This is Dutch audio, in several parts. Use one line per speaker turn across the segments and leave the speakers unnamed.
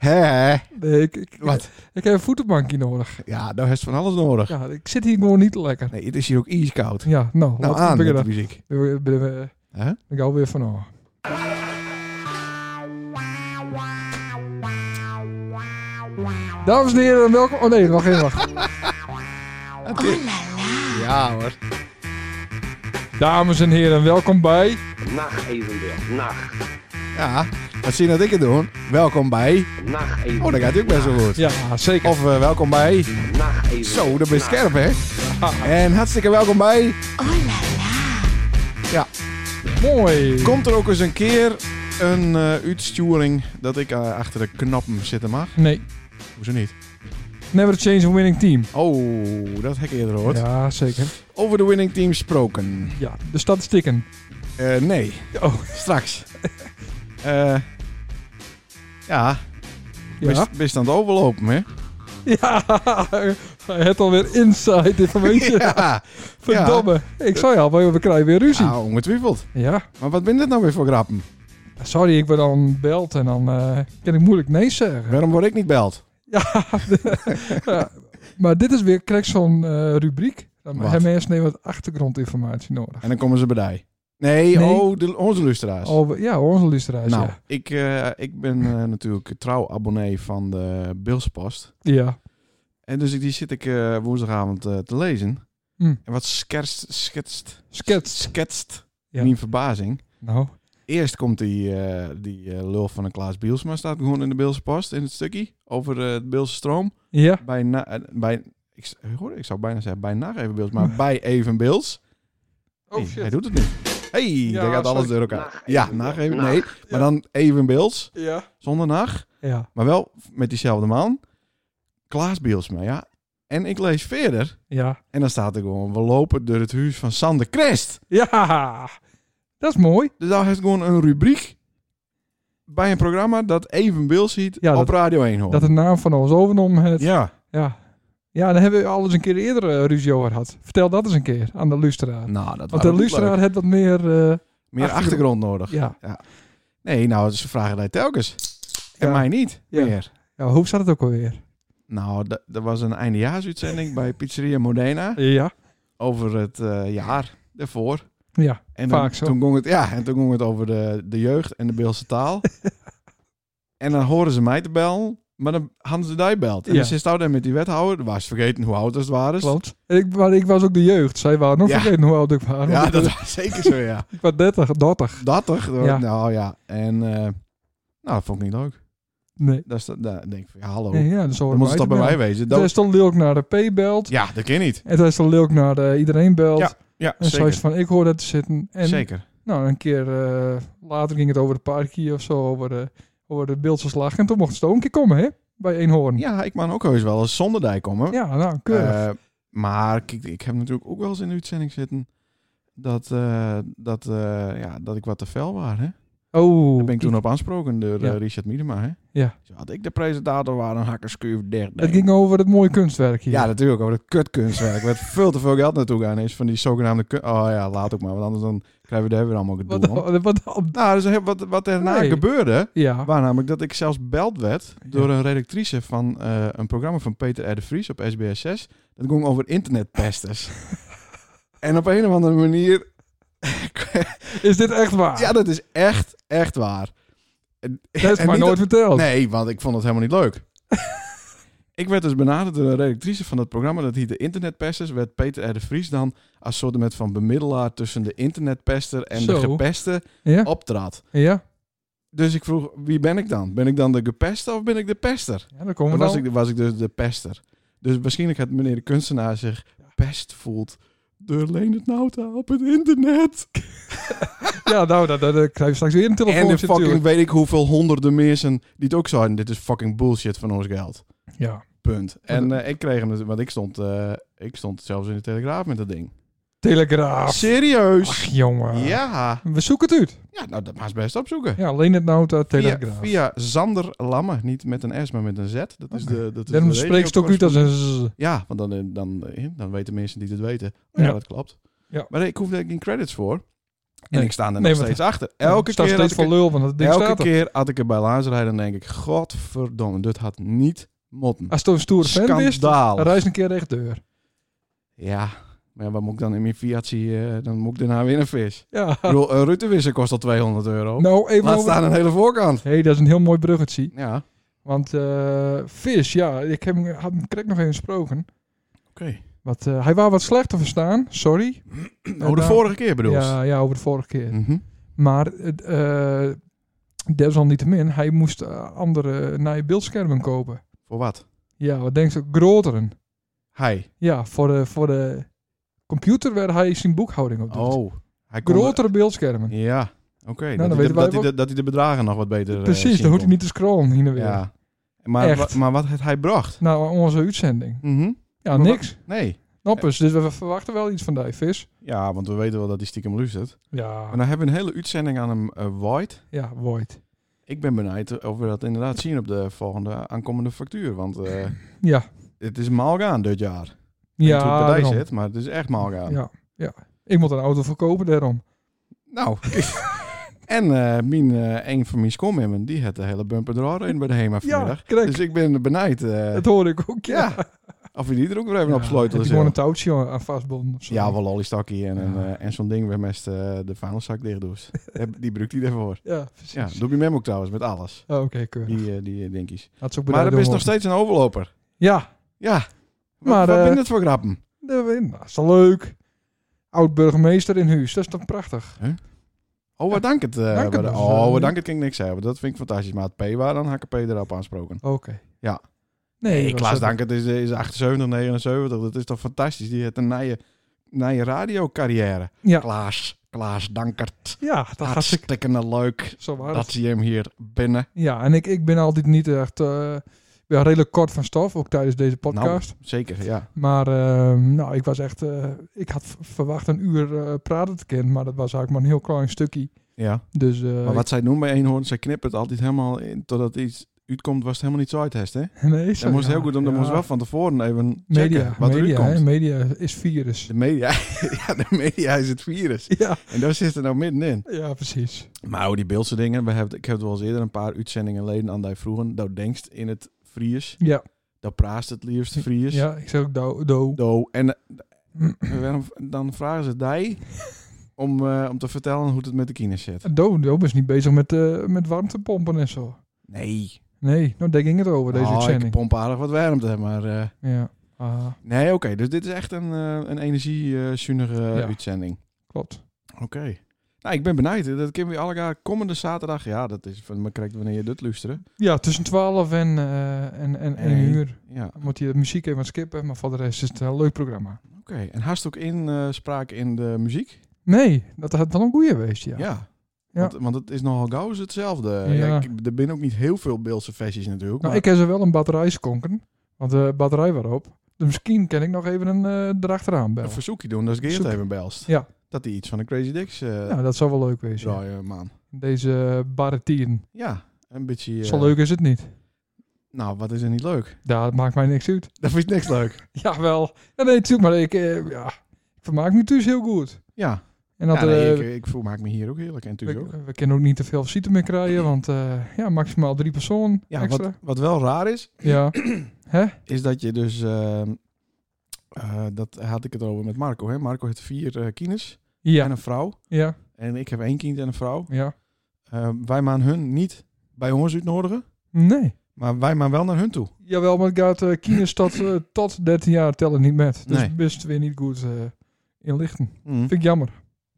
Hè?
Nee, ik, ik,
Wat?
ik heb een voetenbankje nodig.
Ja, daar heeft van alles nodig.
Ja, ik zit hier gewoon niet lekker.
Nee, het is hier ook ijskoud.
Ja, nou,
Nou,
laten we
aan met de
beginnen.
muziek.
We- we- we-
Hè?
eh, Ik hou weer van oh. Dames en heren, welkom. Oh nee, wacht even. Wacht.
Ja hoor.
Dames en heren, welkom bij.
Nacht evenbeeld. Nacht.
Ja, wat zie je dat ik het doen? Welkom bij...
Nacht evenbeeld.
Oh, dat gaat ook best wel goed.
Ja, zeker.
Of eh, welkom bij...
Nacht evenbeeld.
Zo, dat ben je scherp hè?
Ah,
En hartstikke welkom bij...
mooi.
Komt er ook eens een keer een eh uitsturing dat ik eh, achter de knappen zitten mag?
Nee,
Hoezo niet?
never change a winning team.
Oh, dat heb ik eerder gehoord.
Ja, zeker.
Over de winning team gesproken.
Ja, de statistieken.
Eh, nee,
Oh,
straks. Eh ja,
ja.
best, best aan het overlopen, hè?
Ja, hij had alweer inside information.
ja,
Verdomme. Ik zou je al, we krijgen weer ruzie.
Ja, ongetwijfeld.
Ja.
Maar wat ben dit nou weer voor grappen?
Sorry, ik word dan belt en dan eh, kan ik moeilijk nee zeggen.
Waarom word ik niet beld?
Ja, ja. maar dit is weer krijg ik zo'n eh, rubriek. Dan
Wat?
hebben mensen even wat achtergrondinformatie nodig.
En dan komen ze bij die. Nee,
Nee.
oh, de, onze luisteraars.
Oh, ja, onze luisteraars.
nou,
Ja.
ik, eh, ik ben eh, natuurlijk trouw abonnee van de Bilspost.
ja.
En dus ik, die zit ik eh, woensdagavond eh, te lezen.
Hm.
En wat skerst, schetst,
Skets.
schetst
Ja.
mijn verbazing.
Nou,
Eerst komt die, eh, die eh, lul van een Klaas Bielsma, staat gewoon in de Beelse Post in het stukje. Over eh, de Beelse stroom.
ja.
Bij, na, eh, bij ik, s- hoor, ik zou bijna zeggen bij na even Beels, maar bij even Beels. Hey, hij doet het niet. hey,
Oh, Ja,
daar gaat alles
sorry.
door elkaar.
Nacht
Ja,
even
na
Beels.
even, nee.
Nacht.
Maar dan even Beels,
Ja.
zonder nacht.
Ja.
Maar wel met diezelfde man. Klaas Bielsma, ja. En ik lees verder.
Ja.
En dan staat er gewoon, we lopen door het huis van Sander Krest.
Ja. Dat is mooi.
Dus daar heeft gewoon een rubriek bij een programma dat even Bils ziet
Ja,
op
dat-
Radio 1 hoort.
Dat de naam van ons overnom het. Ja.
ja.
ja. dan hebben we al eens een keer eerder eh, ruzie over gehad. Vertel dat eens een keer aan de luisteraar.
Nou, dat waren
Want de
ook leuk.
luisteraar heeft wat meer... eh,
Meer achtergrond nodig.
ja.
Nee, nou, ze vragen dat telkens. En
Ja.
mij niet
Ja.
meer.
ja, hoe zat het ook alweer?
Nou, dat- dat was een eindejaarsuitzending bij Pizzeria Modena
Ja.
over het eh, jaar daarvoor.
Ja.
En
Vaak zo.
Toen ging het, ja, en toen ging het over de, de jeugd en de Beelse taal. en dan horen ze mij te bellen, maar dan hadden ze die belt. En
Ja.
dan zit daar dan met die wethouder, dan was ze vergeten hoe oud het waren.
Klopt. En ik, maar ik was ook de jeugd. Zij waren nog
Dus- Ja.
vergeten hoe oud ik was.
Ja, dat was zeker zo, ja.
Ik was 30, 30.
Dat toch?
Ja.
Nou ja, en eh, nou, dat vond ik niet leuk.
Nee.
Dat is, dat, daar denk ik van, ja, hallo.
Nee, ja, dus
Oh. dan moet het toch bij mij wezen.
Toen
Dat,
is dan Lilk naar de P belt.
ja, dat kan niet.
En toen is dan Lilk naar de iedereen belt.
Ja, Ja,
en zo is
zeker.
het van, ik hoor dat te zitten. En
zeker.
nou, een keer eh, later ging het over de parkie of zo, over de, over de beeldverslag. En toen mochten ze ook een keer komen, hè? Bij Eenhoorn.
Ja, ik mag ook heus wel eens zonder dijk komen.
Ja, nou, keurig.
Eh, maar kijk, ik heb natuurlijk ook wel eens in de uitzending zitten dat, eh, dat, eh, ja, dat ik wat te fel was. Hè?
oh,
Daar ben ik toen op aansproken door eh,
Ja.
Richard Miedema. Hè?
Ja.
Zo, had ik de presentator waar een hakkerskuur dicht.
het ging over het mooie kunstwerk hier.
ja, natuurlijk over dat kutkunstwerk. Waar veel te veel geld naartoe gaan is van die zogenaamde... kun- Oh ja, laat ook maar, want anders dan krijgen we daar weer allemaal gedoe
wat,
om.
wat, wat,
Nou, dus heel- wat, wat daarna
Nee.
gebeurde,
ja.
waar namelijk dat ik zelfs beld werd door
Ja.
een redactrice van eh, een programma van Peter R. de Vries op SBS6. Dat ging over internetpesters. en op een of andere manier...
Is dit echt waar?
ja, dat is echt, echt waar.
Ah. dat is maar nooit verteld.
Nee, want ik vond het helemaal niet leuk. ik werd dus benaderd door een redactrice van dat programma, dat heette Internetpesters, werd Peter R. de Vries dan als soort met van bemiddelaar tussen de internetpester en de
Zo.
gepeste
Ja?
optrad.
Ja?
Dus ik vroeg, wie ben ik dan? Ben ik dan de gepeste of ben ik de pester?
ja, dan
Dan
komen we
was
dan.
ik, was ik dus de pester. Dus waarschijnlijk had meneer de kunstenaar zich pest voelt door Leonard Nauta op het internet.
Ja, nou, dat, dat, dat krijg je straks weer een
En
telefoontje
de fucking
natuurlijk.
weet ik hoeveel honderden mensen die het ook zouden. Dit is fucking bullshit van ons geld.
Ja.
Punt. En eh, ik kreeg hem, natuurlijk- want ik stond, eh, ik stond zelfs in de Telegraaf met dat ding.
Telegraaf. Ach,
Serieus?
jongen.
Ja.
We zoeken het uit.
Ja, nou dat was best opzoeken.
Ja, alleen het nou dat
Via,
Telegraaf.
via Zander Lamme, niet met een S, maar met een Z. Dat is de. Dat is
Dan
de
Oh. spreekt het ook uit als een zzz.
Ja, want dan, eh, dan, eh, dan weten mensen die dit weten.
Ja.
Ja, dat klopt.
Ja.
Maar ik hoef daar geen credits voor.
Nee.
En ik sta er nog
Nee, want-
steeds achter. Elke
staat
keer
steeds
als ik
van lul, want dat ding
Elke
staat er.
keer had ik er bij Laans rijd, dan denk ik, godverdomme, dit had niet motten.
Als je een stoere fan wist, dan
Schandaal.
reis een keer tegen de deur.
Ja, maar ja, wat moet ik dan in mijn Fiat zien? eh, dan moet ik daarna weer een vis.
Ja.
Ik bedoel, een Rutenwisser kost al 200 euro.
Nou, even
Laat
over-
staan een hele voorkant.
hey, dat is een heel mooi bruggetje.
Ja, oké.
Want eh, Vis, ja, ik heb, hem- had hem correct nog even gesproken. Want, eh, hij was wat slechter verstaan, sorry.
Oh, de
Eh,
vorige keer bedoel je?
Ja, ja, over de vorige keer.
Mhm.
Maar het, eh desalniettemin, hij moest eh, andere nieuwe beeldschermen kopen.
Voor wat?
Ja, wat denk je? Groteren.
Hij.
Ja, voor de, voor de computer waar hij zijn boekhouding op doet.
Oh. Hij kon-
Grotere beeldschermen.
Ja, oké.
Nou, dan
dat, hij
weten
de-
wij
dat, hij
ook-
de- dat hij de bedragen nog wat beter eh,
Precies,
zien
dan hoeft hij
kon.
niet te scrollen hier en weer.
Ja. Maar,
Echt.
wa- maar wat het hij bracht?
Nou, onze uitzending.
Mhm.
Ja,
Maar wa-
niks.
Nee.
Noppers, dus we verwachten wel iets van die vis.
Ja, want we weten wel dat hij stiekem luistert.
Ja,
En dan hebben we een hele uitzending aan hem eh white.
ja, Void.
Ik ben benieuwd of we dat inderdaad zien op de volgende eh, aankomende factuur. Want eh,
Ja,
het is maal gaan dit jaar. Ik weet niet hoe het
ja,
bij
daarom.
jou zit, maar het is echt maal gaan.
ja, ja. Ik moet een auto verkopen daarom.
Nou, en eh, mijn, eh, een van mijn schoolmemmen, die had de hele bumper er in bij de HEMA
Ja,
vanmiddag.
kijk,
dus ik ben benieuwd eh,
dat hoor ik ook.
ja. of je die er ook weer even op sleutelt.
Heb je gewoon een touwtje aan vastbonden of zo?
Ja, wel lollystakkie en, een,
Ja.
eh, en zo'n ding waar mest eh, de vuilniszak dicht doet. Die- die bruikt hij daarvoor.
Ja, precies.
Ja, doe je mem ook trouwens, met alles.
Oh, Oké, keurig.
Die, eh, die eh, dinkies.
Dat is ook
Maar
bereid
er is
om-
nog steeds een overloper.
Ja,
Ja,
Maar,
maar, wat
eh,
ben je het voor grappen?
dat we- dat is toch leuk. Oud-burgemeester in huis, dat is toch prachtig?
Oh, we dank het. eh,
Dank het
we-
dus,
oh,
eh,
we dank het, kan ik niks hebben. Dat vind ik fantastisch. Maar het P waar, dan had ik P erop aansproken.
Oké.
Ja.
Nee,
Nee,
was
Klaas
Oh, dat-
dank het is, eh, is 78, 79. Dat is toch fantastisch. Die heeft een nije, nije radiocarrière.
Ja,
Klaas, Klaas Dankert.
ja dat gaat ik.
Hartstikke leuk
Zo waar.
dat zie je hem hier binnen.
Ja, en ik, ik ben altijd niet echt... eh, ik ben redelijk kort van stof, ook tijdens deze
Nou.
podcast.
Zeker, ja.
Maar ehm, nou, ik was echt... eh, ik had v- verwacht een uur eh, praten te kennen, maar dat was eigenlijk maar een heel klein stukje.
ja.
Dus eh,
Maar wat zij doen bij Eenhoorn, zij knippen het altijd helemaal in. Totdat iets uitkomt, was het helemaal niet zo uit, hè?
nee, zo-
Dan moest
ja,
heel goed, dan, dan
ja.
moest wel van tevoren even checken
Media,
wat er
media,
uitkomt.
hè, media is virus.
De media, ja, de media is het virus.
Ja,
En daar zit er nou middenin.
ja precies.
Maar oh, die beeldse dingen, we hebben, ik heb het wel eens eerder een paar uitzendingen geleden aan die vroegen. Dat denkst in het Fries,
Ja,
dat praast het liefst Fries.
ja ik zeg ook do. do.
Do. En eh, waarom- dan vragen ze die om, eh, om te vertellen hoe het met de kines zit.
Do, do is niet bezig met, eh, met warmtepompen en zo.
Nee,
Nee, nou daar ging het over, deze
oh, ik
uitzending.
pomp aardig wat warmte, maar... eh,
Ja, ah,
nee, oké, dus dit is echt een, eh een energiezuinige eh,
Ja.
uitzending.
klopt.
Oké. Nou, ik ben benieuwd. Dat kunnen we allemaal komende zaterdag... Ja, dat is van me correct wanneer je dit luisteren.
Ja, tussen 12 en, eh en, en
Nee.
1 uur
Ja,
moet je de muziek even skippen, maar voor de rest is het een leuk programma.
oké. En haast ook inspraak in de muziek?
Nee, dat had wel een goeie geweest, ja. Nou,
Ja.
Ja.
Want, want het is nogal gauw is hetzelfde. Ja.
Ja.
ik- er zijn ook niet heel veel Beelse versies natuurlijk.
Nou,
maar-
ik heb ze wel een batterij skonken, want de batterij waarop. Dus misschien kan ik nog even een eh erachteraan
een
bellen.
verzoekje doen, dat is Geert
Verzoek.
even belst.
Ja.
Dat hij iets van de Crazy Dicks eh
Ja, dat zou wel leuk wezen. ja.
draaien, man.
Deze barretien.
Ja, een beetje... eh,
Zo leuk is het niet.
Nou, wat is er niet leuk?
Ja, dat maakt mij niks uit.
Dat vind je niks leuk.
Jawel. Ja, nee, natuurlijk, maar ik, eh, ja, ik vermaak me dus heel goed.
Ja,
En dat,
Ja, nee,
eh,
ik, ik voel, maak me hier ook heerlijk en natuurlijk ook.
we, we kunnen ook niet te veel visite meer krijgen, want eh, ja, maximaal drie personen
Ja,
extra.
wat, wat wel raar is,
Ja,
is dat je dus... ehm, eh, dat had ik het over met Marco. Hè? Marco heeft vier eh kines en
ja,
een vrouw.
ja,
En ik heb één kind en een vrouw.
ja.
Eh, wij maan hun niet bij ons uitnodigen.
Nee.
Maar wij maar wel naar hun toe.
Jawel, maar het gaat eh kines tot, eh, tot 13 jaar tellen niet met. Dus
Nee.
best weer niet goed eh, inlichten. Vind ik jammer.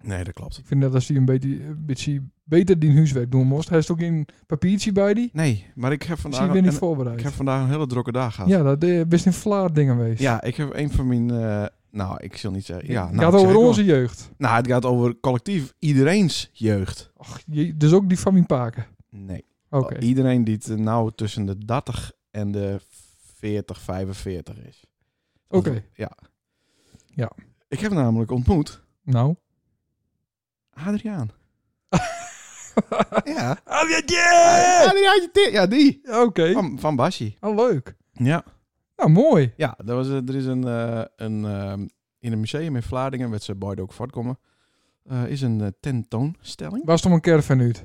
Nee, dat klopt.
Ik vind dat als die een beetje, een beetje beter die huiswerk doen moest. Hij is ook in papiertje bij die.
Nee, maar ik heb
Zie
vandaag,
ik weer niet
een, ik heb
voorbereid.
vandaag een hele drukke dag gehad.
Ja, dat is best in Vlaar dingen geweest.
Ja, ik heb een van mijn... eh, nou, ik zal niet zeggen... Ja, nou,
het gaat
ik zeg
over
het
onze jeugd.
wel. Nou, het gaat over collectief iedereens jeugd.
Ach, je, dus ook die van mijn paken.
Nee.
Oké.
Iedereen die het eh, nou tussen de 30 en de 40, 45 is.
Oké.
Ja.
Ja.
Ik heb namelijk ontmoet
Nou.
Adriaan. ja.
Ah, ja, yeah!
Adriaan, ja, die.
Oké.
Van, van Basje.
Ah, leuk.
Ja.
Nou, mooi.
Ja, er, was, eh, er is een, eh, een ehm, in een museum in Vlaardingen werd ze Boyd ook voortkomen. eh, is een eh, tentoonstelling.
Was het om een caravan uit?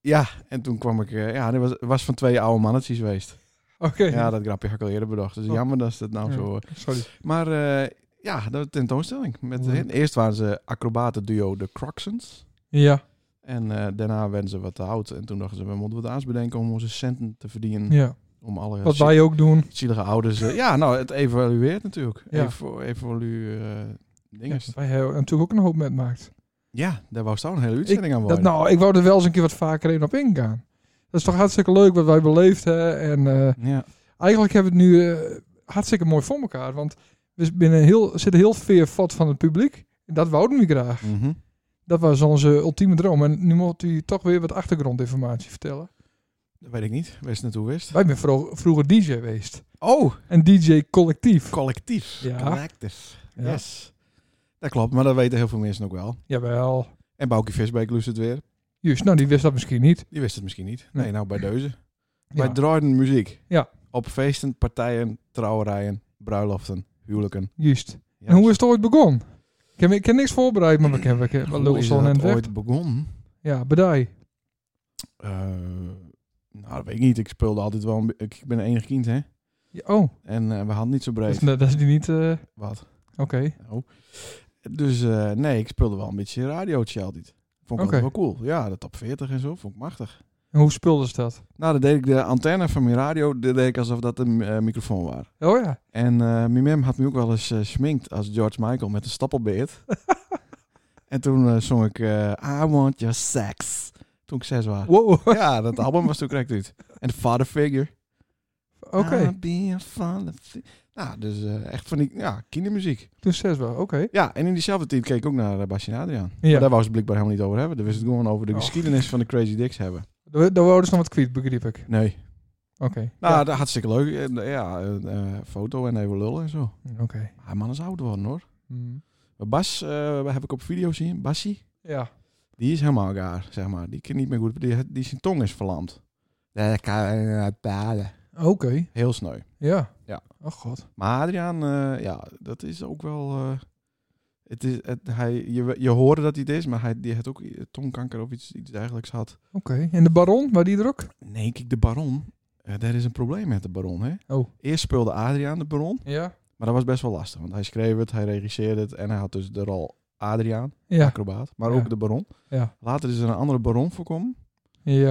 Ja, en toen kwam ik... eh, ja, dat was, was van twee oude mannetjes geweest.
Oké.
Ja, dat grapje had ik al eerder bedacht. Dus
Oh.
jammer dat ze dat nou
Ja.
zo... eh.
Sorry.
Maar eh, ja, de tentoonstelling. Met,
Leuk.
eh, eerst waren ze acrobatenduo de Croxons.
Ja,
En eh, daarna werden ze wat te oud. En toen dachten ze, we moeten wat aans bedenken om onze centen te verdienen.
ja.
Om alle
Wat
zie-
wij ook doen.
zielige ouders... eh, ja, nou, het evalueert natuurlijk.
Ja.
Evo, evolu... eh, dinges.
Ja, wij hebben natuurlijk ook een hoop met maakt.
Ja, daar wou staan een hele uitzending aan
Dat,
worden.
nou, ik wou er wel eens een keer wat vaker even op ingaan. Dat is toch hartstikke leuk wat wij beleefd hebben. En eh,
Ja,
eigenlijk hebben we het nu eh, hartstikke mooi voor elkaar. Want we binnen heel, zitten heel veel vat van het publiek. En dat wouden we graag.
mhm.
Dat was onze ultieme droom. En nu moet u toch weer wat achtergrondinformatie vertellen.
dat weet ik niet. Wees naartoe wist.
Wij zijn vro- vroeger DJ geweest.
Oh,
Een DJ-collectief.
collectief.
Ja.
Collectief.
Ja.
Yes. Dat klopt, maar dat weten heel veel mensen ook wel.
Jawel.
En Bouke Visbeek lust het weer.
Juist, nou die wist dat misschien niet.
Die wist het misschien niet.
Nee.
Nee, nou bij deuze. Wij
Ja.
draaiden muziek.
Ja.
Op feesten, partijen, trouwerijen, bruiloften, huwelijken.
Juist.
Ja,
En hoe is het ooit begonnen? Ik heb, ik heb niks voorbereid, maar we kennen we kennen- we
hoe
lullen
is
zo en
dat
weg.
ooit begonnen?
Ja, bedai.
Eh, nou, dat weet ik niet. Ik speelde altijd wel... een be- Ik ben een enig kind, hè.
Ja, oh,
En eh, we hadden niet zo
dat is,
breed.
dat is die niet. eh, Oké.
Wat? Oh. Dus eh, nee, ik speelde wel een beetje radiootje altijd. Vond ik
Oké.
altijd wel cool. Ja, de top 40 en zo. Vond ik machtig.
En hoe speelden ze dat?
Nou, dan deed ik de antenne van mijn radio... Dat deed ik alsof dat een eh, microfoon was.
Oh ja.
En eh, mijn mem had me ook wel eens eh sminkt als George Michael met een stappelbeet. en toen eh, zong ik eh, I Want Your Sex. Toen ik zes was.
Wow. Oké.
ja, dat album was toen correct uit. En Father Figure. I'll be a father fi- Nou, dus eh, echt van die ja, kindermuziek.
Toen zes wel. Oké.
Ja, en in diezelfde tijd keek ik ook naar uh, Basje Adriaan.
Ja.
Maar daar wou ze blijkbaar helemaal niet over hebben. Daar wist het gewoon over de
Oh.
geschiedenis van de Crazy Dicks hebben.
Daar daar wouden ze nog wat kwiet, begreep ik.
Nee.
Oké.
Nou,
Ja.
dat hartstikke leuk. En, eh, Ja, eh, eh, foto en even lullen en zo.
Hm, Oké.
Maar man is oud worden hoor.
Hmm.
Bas eh, heb ik op video zien. Bassie,
Ja.
die is helemaal gaar, zeg maar. Die kan niet meer goed. Die, die zijn tong is verlamd. Ja, dat kan je niet bepalen.
Oké.
Heel sneu.
Ja.
Ja.
Oh god.
Maar Adriaan, eh, ja, dat is ook wel. eh, het is, het, hij, je, je hoorde dat hij het is, maar hij die had ook i- tongkanker of iets, iets dergelijks had.
Oké. En de baron, waar die er ook?
Nee, kijk, de baron. eh, daar is een probleem met de baron, hè?
Oh.
Eerst speelde Adriaan de baron,
Ja.
maar dat was best wel lastig. Want hij schreef het, hij regisseerde het en hij had dus de rol Adriaan,
Ja.
acrobaat, maar
Ja.
ook de baron.
Ja.
Later is er een andere baron voorkomen.
Ja.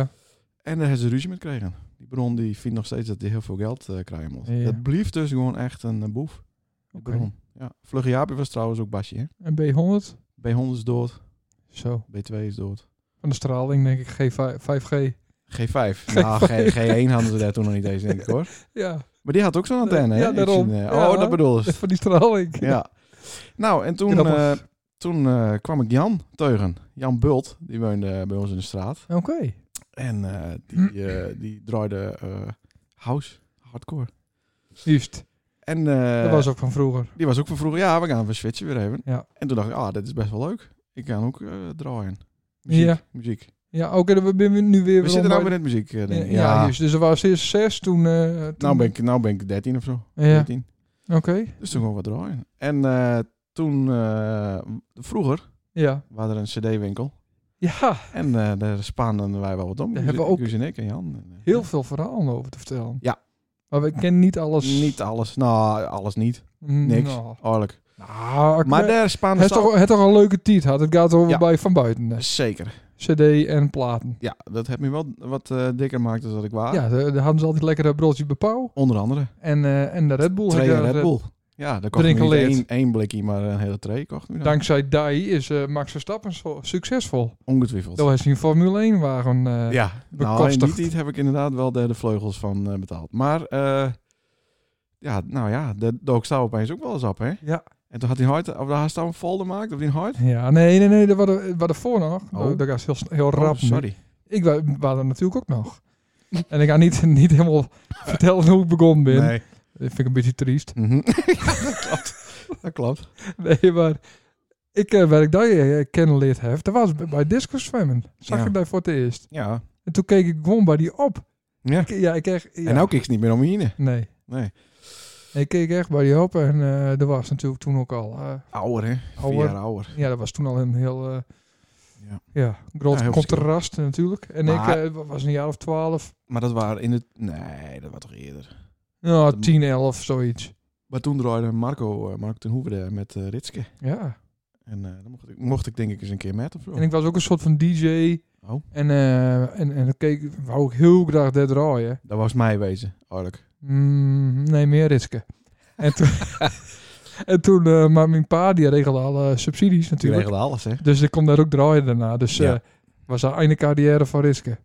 En daar hebben ze ruzie mee gekregen. Die bron die vindt nog steeds dat hij heel veel geld eh, krijgen moet.
Ja.
Dat blieft dus gewoon echt een eh, boef. Die
Oké.
bron. Ja. Vlugge Jaapie was trouwens ook Basje. Hè?
En B100?
B100 is dood.
Zo.
B2 is dood.
Van de straling denk ik G5, 5G.
G5. Nou, G, G1 hadden ze daar toen nog niet eens, denk ik hoor.
Ja.
Maar die had ook zo'n antenne. hè?
Ja,
Ik
daarom.
zie, eh,
Ja.
Oh, dat bedoel je.
Van die straling.
Ja. Nou, en toen,
Grappig.
eh, toen eh, kwam ik Jan teugen. Jan Bult, die woonde eh, bij ons in de straat.
Oké.
En eh, die, eh, die draaide eh, house, hardcore.
Juist.
En, eh,
dat was ook van vroeger.
Die was ook van vroeger, ja, we gaan even switchen weer even.
Ja.
En toen dacht ik, ah, dit is best wel leuk. Ik kan ook eh, draaien. Muziek,
Ja.
muziek.
Ja, oké, dan ben we nu weer...
We zitten nou
weer
weer in het muziek, eh,
Ja,
ding.
ja.
ja.
juist. Dus er was eerst zes, toen... eh, toen-
nou, ben ik, nou ben ik 13 of zo.
Ja,
14.
oké.
Dus toen gewoon wat draaien. En eh, toen, eh, vroeger,
Ja.
was er een cd-winkel.
Ja,
En eh, daar spaanden wij wel wat om.
Daar
Guus-
hebben we ook
Guus en ik en Jan. En, eh,
heel veel verhalen over te vertellen.
Ja.
Maar we kennen niet alles.
Niet alles. Nou, alles niet.
Mm,
Niks.
Nou,
Oorlijk.
Nou, ik-
Maar
het
daar spaanden
is
ze
toch, het is toch een leuke tiet had. Het gaat over
Ja.
bij van buiten. hè.
Zeker.
CD en platen.
Ja, dat heeft me wel wat eh, dikker gemaakt dan dat ik was.
Ja, daar daar hadden ze altijd lekker dat broodje bepauw.
Onder andere.
En, eh, en de Red Bull.
Twee
had daar,
Red
eh,
Bull. Ja, daar kocht ik niet
Drinken leert.
één, één blikje, maar een hele tray kocht nu dan.
Dankzij DAI is eh, Max Verstappen zo- succesvol.
Ongetwijfeld.
Dat is een Formule 1 wagen. eh,
ja, nou, in
bekostigd.
die tijd heb ik inderdaad wel de, de vleugels van eh, betaald. Maar, eh, ja, nou ja, de dook stouw opeens ook wel eens op, hè?
Ja.
En toen had hij hard, of had hij een folder gemaakt, of die hard?
Ja, nee, nee, nee. Dat waren er voor nog.
Oh.
Dat was heel, sn- heel rap.
Oh, sorry.
Ik wa- was er natuurlijk ook nog. En ik ga niet, niet helemaal vertellen hoe ik begonnen ben.
Nee.
Dat vind ik een beetje triest.
Mhm. dat klopt. Dat klopt.
Nee, maar ik eh waar ik daar eh, kennenleerd heb, dat was bij- bij Disco Zwemmen. Zag
Ja.
ik daar voor het eerst.
Ja.
En toen keek ik gewoon bij die op.
Ja.
Ik- ja, ik kreeg... Ja.
En nou kiks niet meer om je heen.
Nee.
Nee.
Ik keek echt bij die op en eh er was natuurlijk toen ook al... eh,
Ouder, hè? Vier
Ouder.
jaar ouder.
ja, dat was toen al een heel... eh,
Ja.
ja. groot
Ja, heel
contrast natuurlijk. En
Maar-
ik eh, was een jaar of twaalf.
Maar dat waren in het... Nee, dat was toch eerder. Mm.
Nou, tien, elf, zoiets.
Maar toen draaide Marco, eh, Marco ten Hoeven daar met eh, Ritske.
Ja.
En eh, dan mocht ik, mocht ik denk ik eens een keer met of zo.
En ik was ook een soort van DJ.
Oh.
En, eh, en, en dan keek, wou ik heel graag dit draaien.
Dat was mij wezen, eigenlijk.
Mm, nee, meer risken. En toen, en toen eh, maar mijn pa die regelde alle subsidies
Die
natuurlijk.
regelde alles, hè?
Dus ik kon daar ook draaien daarna. Dus eh
Ja.
was daar einde carrière van risken.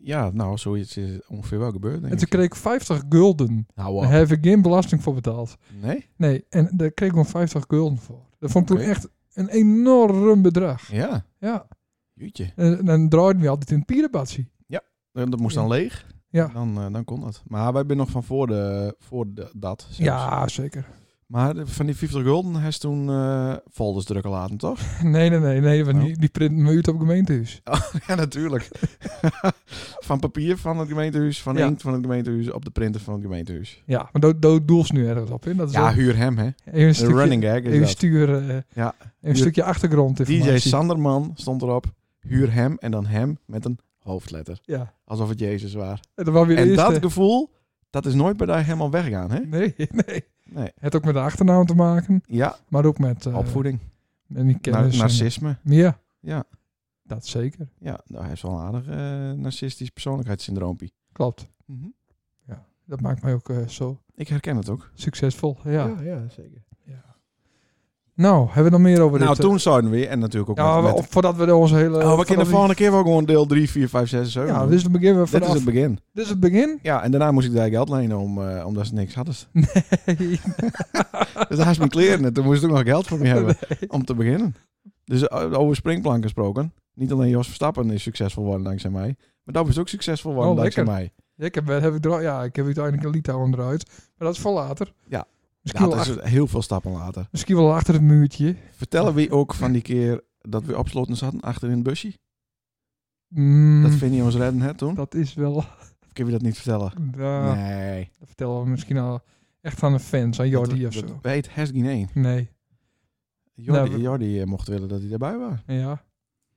Ja, nou, zoiets is ongeveer wel gebeurd, denk
En toen
ik.
kreeg ik 50 gulden.
Nou,
Daar
wow.
heb ik geen belasting voor betaald.
Nee?
Nee, en daar kreeg ik gewoon 50 gulden voor. Dat vond ik
Oké.
toen echt een enorm bedrag.
Ja.
Ja.
Jeetje.
En, en dan draaiden we altijd in het pierenbatsie.
Eh, Dat moest dan leeg.
Ja.
Dan, eh, dan kon dat. Maar wij zijn nog van voor, de, voor de, dat. zelfs.
Ja, zeker.
Maar de- van die 50 gulden heeft toen eh folders drukken laten, toch?
Nee, nee, nee, nee, want
Nou.
die, die print me uit op gemeentehuis.
ja, natuurlijk. van papier van het gemeentehuis, van
Ja.
inkt van het gemeentehuis, op de printer van het gemeentehuis.
Ja, maar dat dat doel is nu ergens op in. Dat is
Ja,
wel
huur hem, hè.
even een
Een
stukje,
running gag is
even
dat.
sturen, eh,
Ja.
even een stukje achtergrondinformatie.
DJ Sanderman stond erop. Huur hem en dan hem met een hoofdletter.
Ja,
Alsof het Jezus was.
en dat was weer de
En
eerste.
dat gevoel, dat is nooit bij daar helemaal weggaan, hè?
Nee, nee.
Nee.
Het ook met de achternaam te maken,
Ja,
maar ook met... eh,
opvoeding.
En die
Nar-
kennis. en-
narcisme.
ja,
Ja.
dat zeker.
Ja, nou, hij is wel een aardig eh, narcistisch persoonlijkheidssyndroompie.
Klopt. Dat maakt mij ook eh, zo
Ik herken het ook.
succesvol. Ja.
zeker.
Nou, hebben we nog meer over
Nou,
dit? eh,
toen zouden we, en natuurlijk ook
Ja,
met-
we- eh, voordat we de onze hele...
Oh, we
voordat
kunnen de volgende keer wel gewoon deel 3, 4, 5, 6, 7.
Ja, dit is het begin. we
Dit is
vanaf-
het begin.
Dit is het begin?
Ja, en daarna moest ik daar geld lenen om, eh, omdat ze niks hadden.
Nee.
Dus daar is mijn kleren en toen moest ik ook nog geld voor me hebben om te beginnen. Dus eh, over springplank gesproken. Niet alleen Jos Verstappen is succesvol geworden dankzij mij, maar dat is ook succesvol geworden
Oh,
dankzij
lekker.
mij.
Ja, ik heb, heb ik er al- ja, ik heb uiteindelijk een Litouwen eruit. Maar dat is voor later.
Ja. Nou,
Misschien,
Dat
wel,
is dus
ach-
heel veel stappen later.
misschien wel achter het muurtje.
Vertellen we ook van die keer dat we opsloten zaten achter in het busje?
Mm,
Dat Vinnie ons redden hè, toen?
dat Eh, is wel...
Of kunnen we dat niet vertellen?
Ja,
nee.
Dat vertellen we misschien al echt aan de fans, aan Jordi
dat,
of zo.
dat weet Hes geen één.
Nee.
Jordi,
Nou, we-
Jordi eh, mocht willen dat hij daarbij was.
Ja.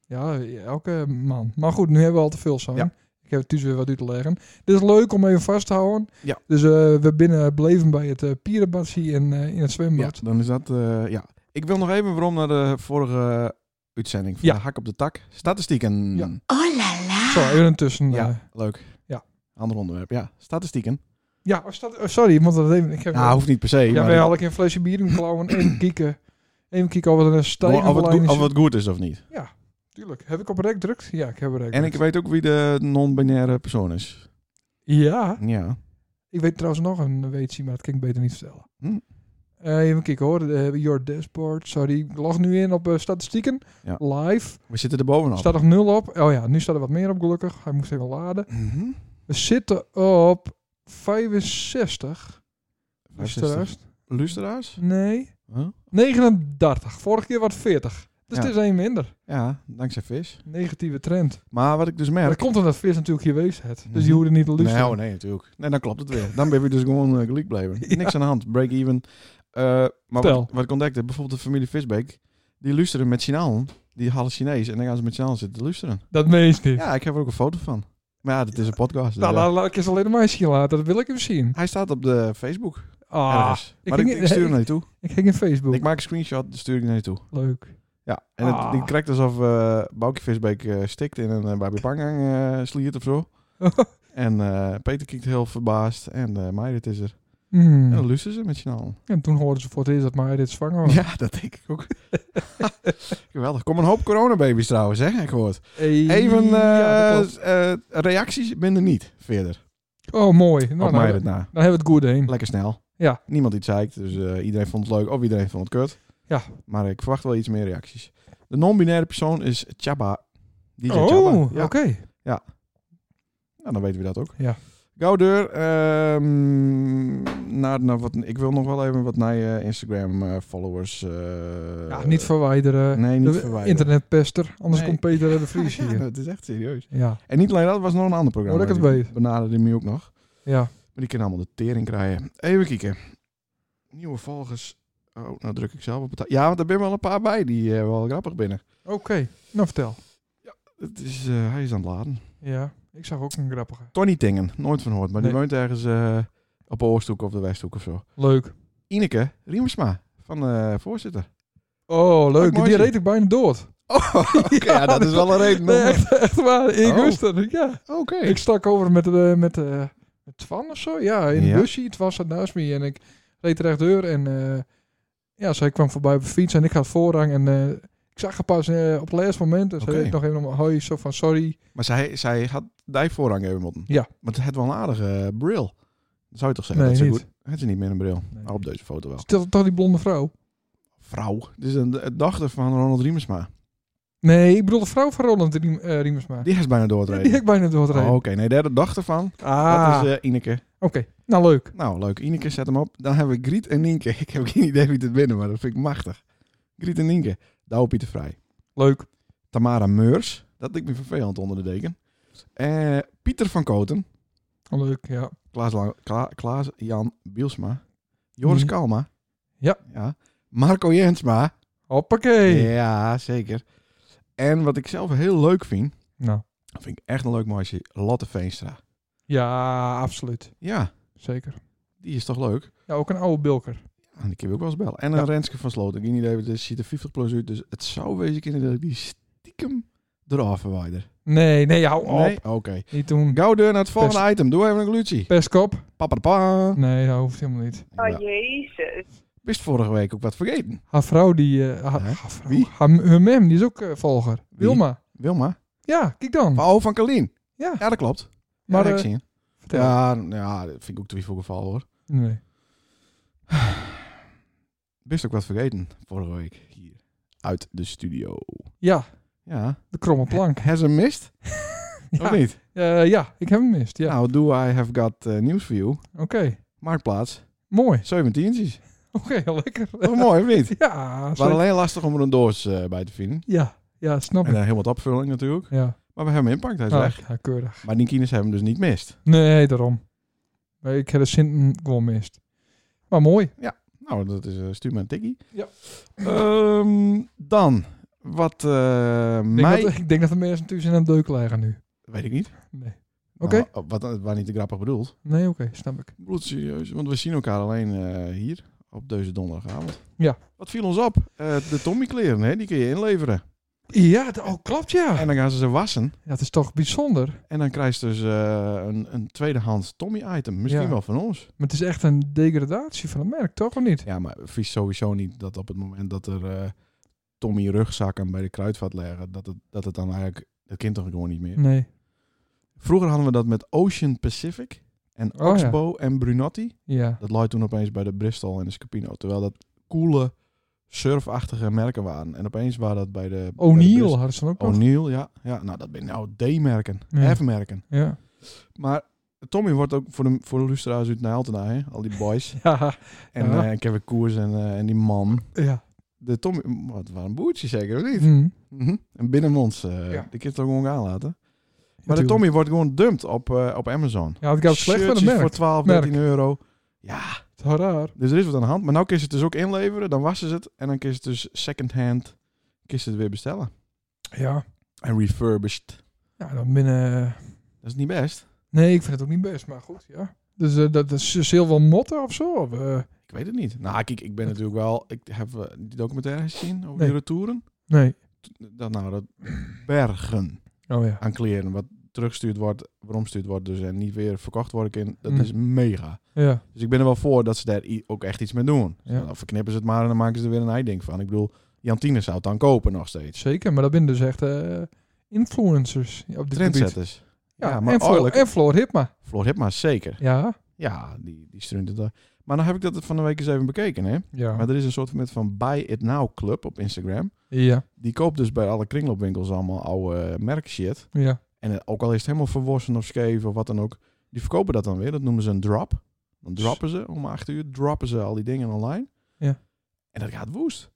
Ja, elke man. Maar goed, nu hebben we al te veel zijn.
Ja.
Ik heb het dus weer wat uit te leggen. Dit is leuk om even vast te houden.
Ja.
Dus eh, we binnen bleven bij het eh pierenbadje en eh, in
Ja,
het zwembad.
dan is dat... eh, ja. Ik wil nog even waarom naar de vorige uitzending van
Ja.
de Hak op de Tak. Statistieken.
Ja.
Oh la la.
Zo, even tussen. eh.
Ja.
Ja,
Leuk.
Ja.
Ander onderwerp, ja. Statistieken.
ja oh, staat- oh, sorry, ik moet dat even. Ik heb
Nou, hoeft niet per se.
Ja,
maar
wij
ik-
had ik een flesje bier in klauwen en kieken. Even kieken of er een
of,
stijgende
het
lijn
goed,
is.
of het goed is of niet.
Tuurlijk. Heb ik op rek drukt? Ja, ik heb rek
En ik weet ook wie de non-binaire persoon is.
Ja.
Ja.
Ik weet trouwens nog een weetje, maar dat kan ik beter niet vertellen.
Hm.
Eh, even kieken hoor. Eh, your dashboard. Sorry, ik log nu in op eh, statistieken.
Ja. Nou.
Live.
We zitten er bovenop.
Staat nog nul op. Oh ja, nu staat er wat meer op gelukkig. Hij moest even laden.
Mhm.
We zitten op 65. Dus de
65.
rest?
Luisteraars?
Nee.
Huh?
39. Vorige keer wat 40. Dus
Ja.
het is één minder.
Ja, dankzij vis.
Negatieve trend.
Maar wat ik dus
Maar
merk...
dat komt omdat Vis natuurlijk hier wees het. Dus
Mhm.
die hoorde niet te luisteren.
Nou, nee, natuurlijk. Nee, dan klopt het weer. Dan ben je dus gewoon eh, gelijk blijven. Niks aan de hand. Break even. Eh, maar
Vertel.
wat, wat ik ontdekte, bijvoorbeeld de familie Visbeek, die luisteren met signalen. Die hadden Chinees en dan gaan ze met signalen zitten luisteren.
Dat meest niet.
Ja, ik heb er ook een foto van. Maar ja, dit is een podcast. dus
nou,
ja.
laat, laat ik eens alleen maar zien laten. Dat wil ik hem zien.
Hij staat op de Facebook.
Ah,
ergens.
ik
Maar ik,
ging-
ik stuur hem naar je toe.
ik ging in Facebook.
Ik maak een screenshot, dan stuur ik naar je toe.
Leuk.
Ja, en het,
Ah.
die krijgt alsof eh Boukje Visbeek eh, stikt in een uh, Pangang eh, sliert of zo. En eh, Peter kijkt heel verbaasd. En eh Meijert is er.
Hmm.
En dan luisteren ze met signalen.
En toen hoorden ze voor het eerst dat Maya dit zwanger was.
Ja, dat denk ik ook. Geweldig. Kom een hoop coronababies trouwens, hè? heb Ik hoort.
Hey,
Even eh,
ja, dat
eh, reacties binnen niet verder.
klopt. oh, mooi. Nou,
op
dan,
mij het
dan
na.
hebben we het goed heen.
Lekker snel.
Ja.
Niemand iets zeikt, dus eh, iedereen vond het leuk of iedereen vond het kut.
Ja.
Maar ik verwacht wel iets meer reacties. De non-binaire persoon is Chaba. DJ
Oh,
Chaba.
oké.
Ja. Nou, dan weten we dat ook.
Ja.
Goudeur, ehm, naar, naar wat, ik wil nog wel even wat naar je Instagram-followers.
Ja, niet verwijderen.
eh, Nee, niet
De-
verwijderen.
Internetpester. Anders
Nee.
komt Peter de Vries
Ja,
hier.
dat is echt serieus.
Ja,
En niet alleen dat, was nog een ander programma.
Hoor ik het
Die
weet.
Benaderde me ook nog.
ja.
Maar die kunnen allemaal de tering krijgen. Even kijken. nieuwe volgers. Oh, nou druk ik zelf op het... Ja, want er zijn wel een paar bij die eh, wel grappig binnen.
Oké, nou vertel.
Het is, eh, hij is aan het laden.
Ja, ik zag ook een grappige.
Tony Tingen, nooit van hoort, maar die
Nee.
woont ergens eh, op de Oosthoek of de Westhoek of zo.
Leuk.
Ineke Riemersma, van eh, voorzitter.
Oh, leuk.
mooi
Die
zien.
reed ik bijna dood.
Oh, oké, ja, dat is wel een reden. om- eh.
Nee, echt, echt waar. Ik
Oh.
wist dat. Ja.
Oké.
Ik stak over met, eh met, eh, met Twan of zo. Ja, in
Ja.
een busje. Het was er naast me en ik reed rechtdoor. En eh, ja, zij kwam voorbij op de fiets en ik had voorrang. En eh, ik zag haar pas eh, op het laatste moment. Dus
Oké.
zei ik nog even om hoi, zo van sorry.
Maar zij, zij had die voorrang hebben moeten.
Ja.
Maar het had wel een aardige eh, bril. Zou je toch zeggen?
Nee,
dat ze
niet.
goed. Het is niet meer een bril.
Nee.
Maar op deze foto wel.
Toch, toch die blonde vrouw?
Vrouw. Dit is een de dochter van Ronald Riemersma.
Nee, ik bedoel de vrouw van Roland Riem, eh, Riemersma. Die,
Die is bijna
die,
doortreden.
heb ik bijna doorgereden.
Oh, Oké, nee, daar de dochter van.
Ah,
Dat is eh, Ineke.
oké. Nou, leuk.
Nou, leuk. Ineke, zet hem op. Dan hebben we Griet en Nienke. Ik heb geen idee wie dit winnen, maar dat vind ik machtig. Griet en Nienke. Douwe Pieter Vrij.
Leuk.
Tamara Meurs. Dat ik me vervelend onder de deken. Eh, Pieter van Koten.
Leuk, ja.
Klaas, La- Kla- Klaas Jan Bielsma. Joris
Mhm.
Kalma.
Ja.
ja. Marco Jensma.
Hoppakee.
Ja, zeker. En wat ik zelf heel leuk vind.
Nou,
Dat vind ik echt een leuk meisje. Lotte Veenstra.
ja, absoluut.
Ja,
Zeker.
die is toch leuk?
Ja, ook een oude bilker.
Ja, die kun je ook wel eens bellen. En
Ja.
een Renske van Sloten. Ik weet niet even, het ziet er 50 plus uit. Dus het zou wezen kunnen dat ik die stiekem eraf verwijder.
Nee, nee, hou op.
Nee? Oké.
Niet doen.
Gauw deur naar het volgende item. Doe even een glutie.
Pestkop.
Papa de pa.
Nee, dat hoeft helemaal niet.
Oh, jezus.
Wist vorige week ook wat vergeten.
Haar vrouw, die... eh, haar,
Hè?
haar vrouw,
Wie?
haar, haar mem, die is ook eh, volger. Wilma.
Wilma.
Ja, kijk dan.
Oh, van Kalien.
Hm. Ja.
Ja, dat klopt.
Maar,
Maar ja, ik
eh,
zie het.
vertel.
Ja, nou ja, dat vind ik ook twijfelgeval hoor.
Nee.
Best ook wat vergeten vorige week hier uit de studio.
Ja,
Ja.
de kromme plank.
Has hem mist? Of
Ja,
niet?
Eh, ja ik heb hem mist. Ja,
Nou, do I have got eh, news for you?
oké.
Marktplaats,
Mooi.
17
Oké, lekker.
Dat is mooi, of niet?
Ja,
Het was
zeker.
alleen lastig om er een doos eh, bij te vinden.
ja, ja, snap
En
ik.
eh, heel wat opvulling natuurlijk.
Ja,
Maar we hebben hem inpakt, hij is
ah,
weg.
ja, keurig.
Maar die kines hebben hem dus niet mist.
Nee, daarom. Maar ik heb de Sinten gewoon mist. Maar mooi.
Nou, dat is eh, stuur me een tikkie.
Ja.
Ehm, dan, wat eh
Ik denk,
mij...
dat, ik denk dat de mensen tussen aan het deuken liggen nu.
Weet ik niet.
Nee, Oké.
Nou, wat, waar niet te grappig bedoeld.
nee oké, snap ik.
Bloedserieus, want we zien elkaar alleen eh, hier op deze donderdagavond.
Ja.
Wat viel ons op? Eh, de Tommy-kleren, hè, die kun je inleveren.
Ja, d- oh, klopt ja.
En dan gaan ze ze wassen.
Dat is toch bijzonder.
En dan krijg je dus eh, een, een tweedehands Tommy-item. Misschien
Ja.
wel van ons.
Maar het is echt een degradatie van het merk, toch of niet?
Ja, maar vies sowieso niet dat op het moment dat er eh, Tommy-rugzakken bij de kruidvat liggen, dat het, dat het dan eigenlijk... Dat kind toch gewoon niet meer.
Nee.
Vroeger hadden we dat met Ocean Pacific en
Oh, ja.
Oxbow en Brunotti.
Ja.
Dat lag toen opeens bij de Bristol en de Scapino. Terwijl dat coole, surfachtige merken waren. En opeens waren dat bij de... bij de
O'Neill Oh,
Bristol-
hadden ze dan ook nog.
O'Neill, ja. ja. Nou, dat ben nou D-merken.
Ja.
F-merken.
Ja.
Maar Tommy wordt ook voor de, voor de lustra's uit Nijltena, hè. Al die boys.
Ja.
en
Ja.
eh, Kevin Koers en, eh, en die man.
ja.
De Tommy... Wat, waren een boertje zeker, of niet?
Hm.
Mhm. En binnenmonds. eh
Ja.
Die kind toch gewoon aanlaten. Maar de
Natuurlijk.
Tommy wordt gewoon dumped op, eh, op Amazon.
Ja, het gaat slecht van het
Shirtjes
merk.
voor 12,
Merk.
13 euro.
Het is wel raar.
Dus er is wat aan de hand. Maar nou kun je het dus ook inleveren. Dan wassen ze het. En dan kun je het dus secondhand kun je het weer bestellen.
Ja.
En refurbished.
Ja, dan binnen...
Dat is niet best.
Nee, ik vind het ook niet best, maar goed, ja. Dus eh, dat, dat is heel veel motten of zo? Of, eh,
Ik weet het niet. Nou, kijk, ik ben natuurlijk wel... Ik heb eh, die documentaire gezien over
Nee.
die retouren.
Nee.
Dat, nou, dat bergen
Oh ja.
aan kleren. Wat teruggestuurd wordt, veromstuurd wordt dus. En niet weer verkocht wordt in. Dat
Mm.
is mega.
Ja.
Dus ik ben er wel voor dat ze daar i- ook echt iets mee doen. Dus
Ja.
Dan verknippen ze het maar en dan maken ze er weer een einding van. Ik bedoel, Jantine zou het dan kopen nog steeds.
Zeker, maar dat zijn dus echt eh, influencers op dit gebied.
Trendsetters.
Ja,
maar
en, Floor,
oorlijk.
en Floor Hipma.
Floor Hipma, zeker.
Ja.
Ja, die, die struint het. daar. Maar dan heb ik dat van de week eens even bekeken. Hè?
Ja.
Maar er is een soort van, met van Buy It Now Club op Instagram.
ja.
Die koopt dus bij alle kringloopwinkels allemaal oude eh, merkshit.
Ja.
En eh, ook al is het helemaal verworsen of scheef of wat dan ook. Die verkopen dat dan weer. Dat noemen ze een drop. Dan droppen ze om acht uur. Droppen ze al die dingen online.
Ja.
En dat gaat woest.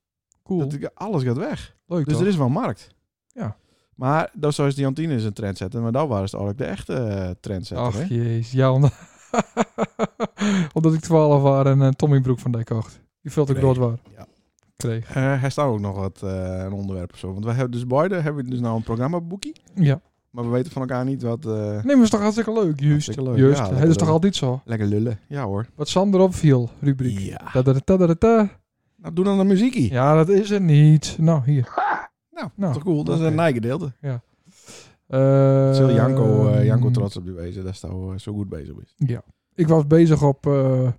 Cool.
Dat, alles gaat weg.
Leuk
Dus
toch?
er is wel markt.
Ja.
Maar dat zoals die Antine is een trendsetter, maar dat waren ze eigenlijk de echte eh trendsetter.
Ach
hè?
jeez, ja. Omdat, Omdat ik 12 was en een Tommy Broek van Dijk kocht. Die vult ik
Nee.
dood waar.
Ja.
Kreeg.
Eh, er staat ook nog wat eh, een onderwerp of zo. Want we hebben dus beide hebben dus nou een programmaboekje.
Ja.
Maar we weten van elkaar niet wat... eh,
Nee, maar is toch hartstikke leuk. Juist.
Hartstikke leuk,
Juist.
ja,
Het
lekker
is toch
leuk.
altijd zo.
Lekker lullen. Ja hoor.
Wat Sander opviel, rubriek.
Ja.
Tadadadadada.
Nou, doe dan de muziekie.
Ja, dat is het niet. Nou, hier.
Nou,
Nou,
toch cool. Dat is een
oké.
nijgedeelte.
Eh,
Zul Janko, eh, Janko trots op die wezen. Dat hij zo goed bezig is.
Ik was bezig op, eh,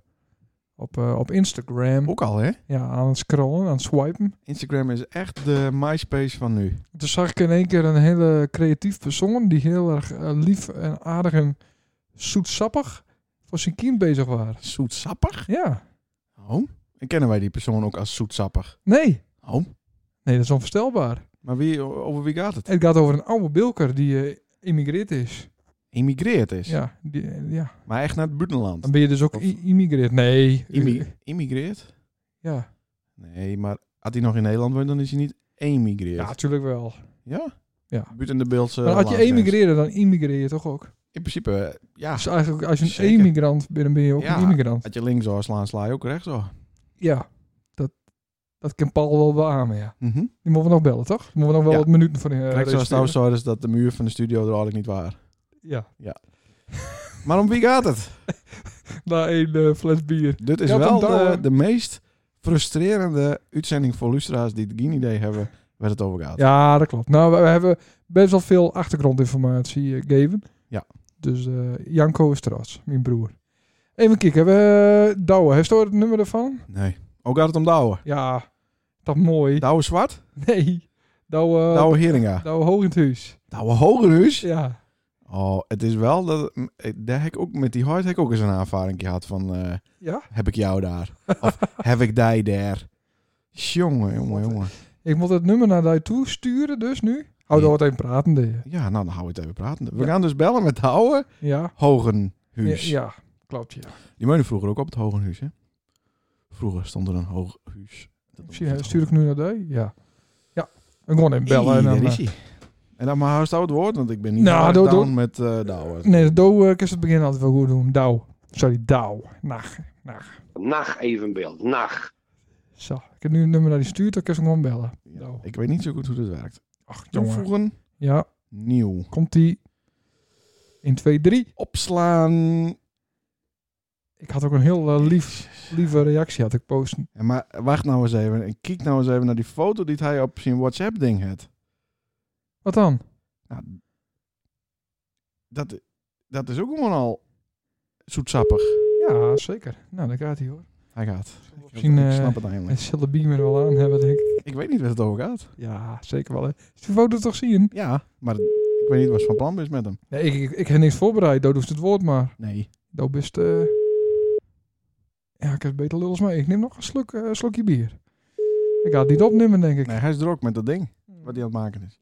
op, eh, op Instagram.
Ook al hè.
Ja, aan het scrollen, aan het swipen.
Instagram is echt de MySpace van nu.
Toen zag ik in één keer een hele creatief persoon die heel erg eh, lief en aardig en zoetsappig voor zijn kind bezig was.
Zoetsappig?
Ja.
Oh. En kennen wij die persoon ook als zoetsappig?
Nee.
Oh.
Nee, dat is onvoorstelbaar.
Maar wie, over wie gaat het?
Het gaat over een oude bilker die eh, immigreerd is.
Immigreerd is.
Ja, die, eh, ja.
Maar echt naar het buitenland.
Dan ben je dus ook
Of-
i- immigreerd. Nee.
Immi- immigreert?
Ja.
Nee, maar had hij nog in Nederland woont, dan is hij niet emigreerd.
ja,
Ja?
natuurlijk wel. Ja.
Buiten de beeldse
Maar als je
landsgrens.
emigreerde, dan immigreer je toch ook?
In principe, eh, ja.
Dus eigenlijk, als je een
Zeker.
emigrant bent, dan ben je ook
Ja.
een immigrant.
Als je links zou slaan, sla je ook rechts zo.
Ja, dat, dat kan Paul wel beamen, ja.
Mhm.
Die moeten we nog bellen, toch? Die moeten we nog wel
Ja.
wat minuten voor in. eh,
Rechts zou
reserveren.
staan, zo is dat de muur van de studio er eigenlijk niet waar.
Ja,
Maar om wie gaat het?
na één eh, fles bier.
Dit is
Ja,
wel
dan
de,
dan.
de meest frustrerende uitzending voor lustra's die geen idee hebben waar het over gaat.
Ja, dat klopt. Nou, we, we hebben best wel veel achtergrondinformatie eh, gegeven.
Ja.
Dus eh, Janko is trots, mijn broer. Even kijken, we, eh, Douwe, heeft u het nummer ervan?
Nee. Ook gaat het om Douwe.
Ja, dat mooi.
Douwe Zwart?
nee, Douwe, Douwe.
Douwe Heringa.
Hoog in het huis.
Douwe Hogerhuis?
Ja.
Oh, het is wel dat... Daar heb ik ook, met die hard heb ik ook eens een ervaring gehad van... eh,
Ja?
heb ik jou daar? Of heb ik die daar? Jongen, jongen, jongen.
Ik moet het nummer naar jou toe sturen, dus nu. Hou
Ja.
door het even praten, deed je.
Ja, nou, dan hou we het even praten. We
Ja.
gaan dus bellen met Douwe
Ja. Ja,
Hogenhuis.
ja, klopt, ja.
Die woonde vroeger ook op het Hogenhuis, hè? Vroeger stond er een Hogenhuis. Dat
Zie je, stuur ik nu naar die? Ja. Ja, ik gewoon even bellen. en dan,
daar is
eh,
hij. En dan maar hou het woord, want ik ben niet
Nou,
erg
doe-
down
doe.
met eh Douwe.
nee, de Douw eh, kan ze het begin altijd wel goed doen. Douw. Sorry, Douw. Nacht. Nacht.
Nacht evenbeeld. Nacht.
Zo. Ik heb nu een nummer naar die stuurt, dan kan ze hem gewoon bellen.
Ja,
Douw.
Ik weet niet zo goed hoe dit werkt.
Ach, Nou. jongen.
Toevoegen,
Ja,
nieuw.
komt-ie. 1, 2, 3.
Opslaan.
Ik had ook een heel eh, lief, lieve reactie had ik posten.
Ja, maar wacht nou eens even. En kijk nou eens even naar die foto die hij op zijn WhatsApp-ding had.
Wat dan?
Nou, dat, dat is ook gewoon al zoetsappig.
Ja, zeker. Nou, daar gaat hij hoor.
Hij gaat.
Misschien
ik
eh
snap het eindelijk.
en zal de beamer wel aan hebben, denk ik.
Ik weet niet waar het over gaat.
Ja, zeker wel. Hè. Is die foto toch zien?
Ja, maar ik weet niet wat van plan is met hem.
Nee, ik, ik, ik heb niks voorbereid. Doe dus het woord maar.
Nee.
Doe best... eh, Ja, ik heb beter lullen als mij. Ik neem nog een slok, eh, slokje bier. Ik ga het niet opnemen, denk ik. Hmm.
nee, hij is er ook met dat ding wat hij aan het maken is.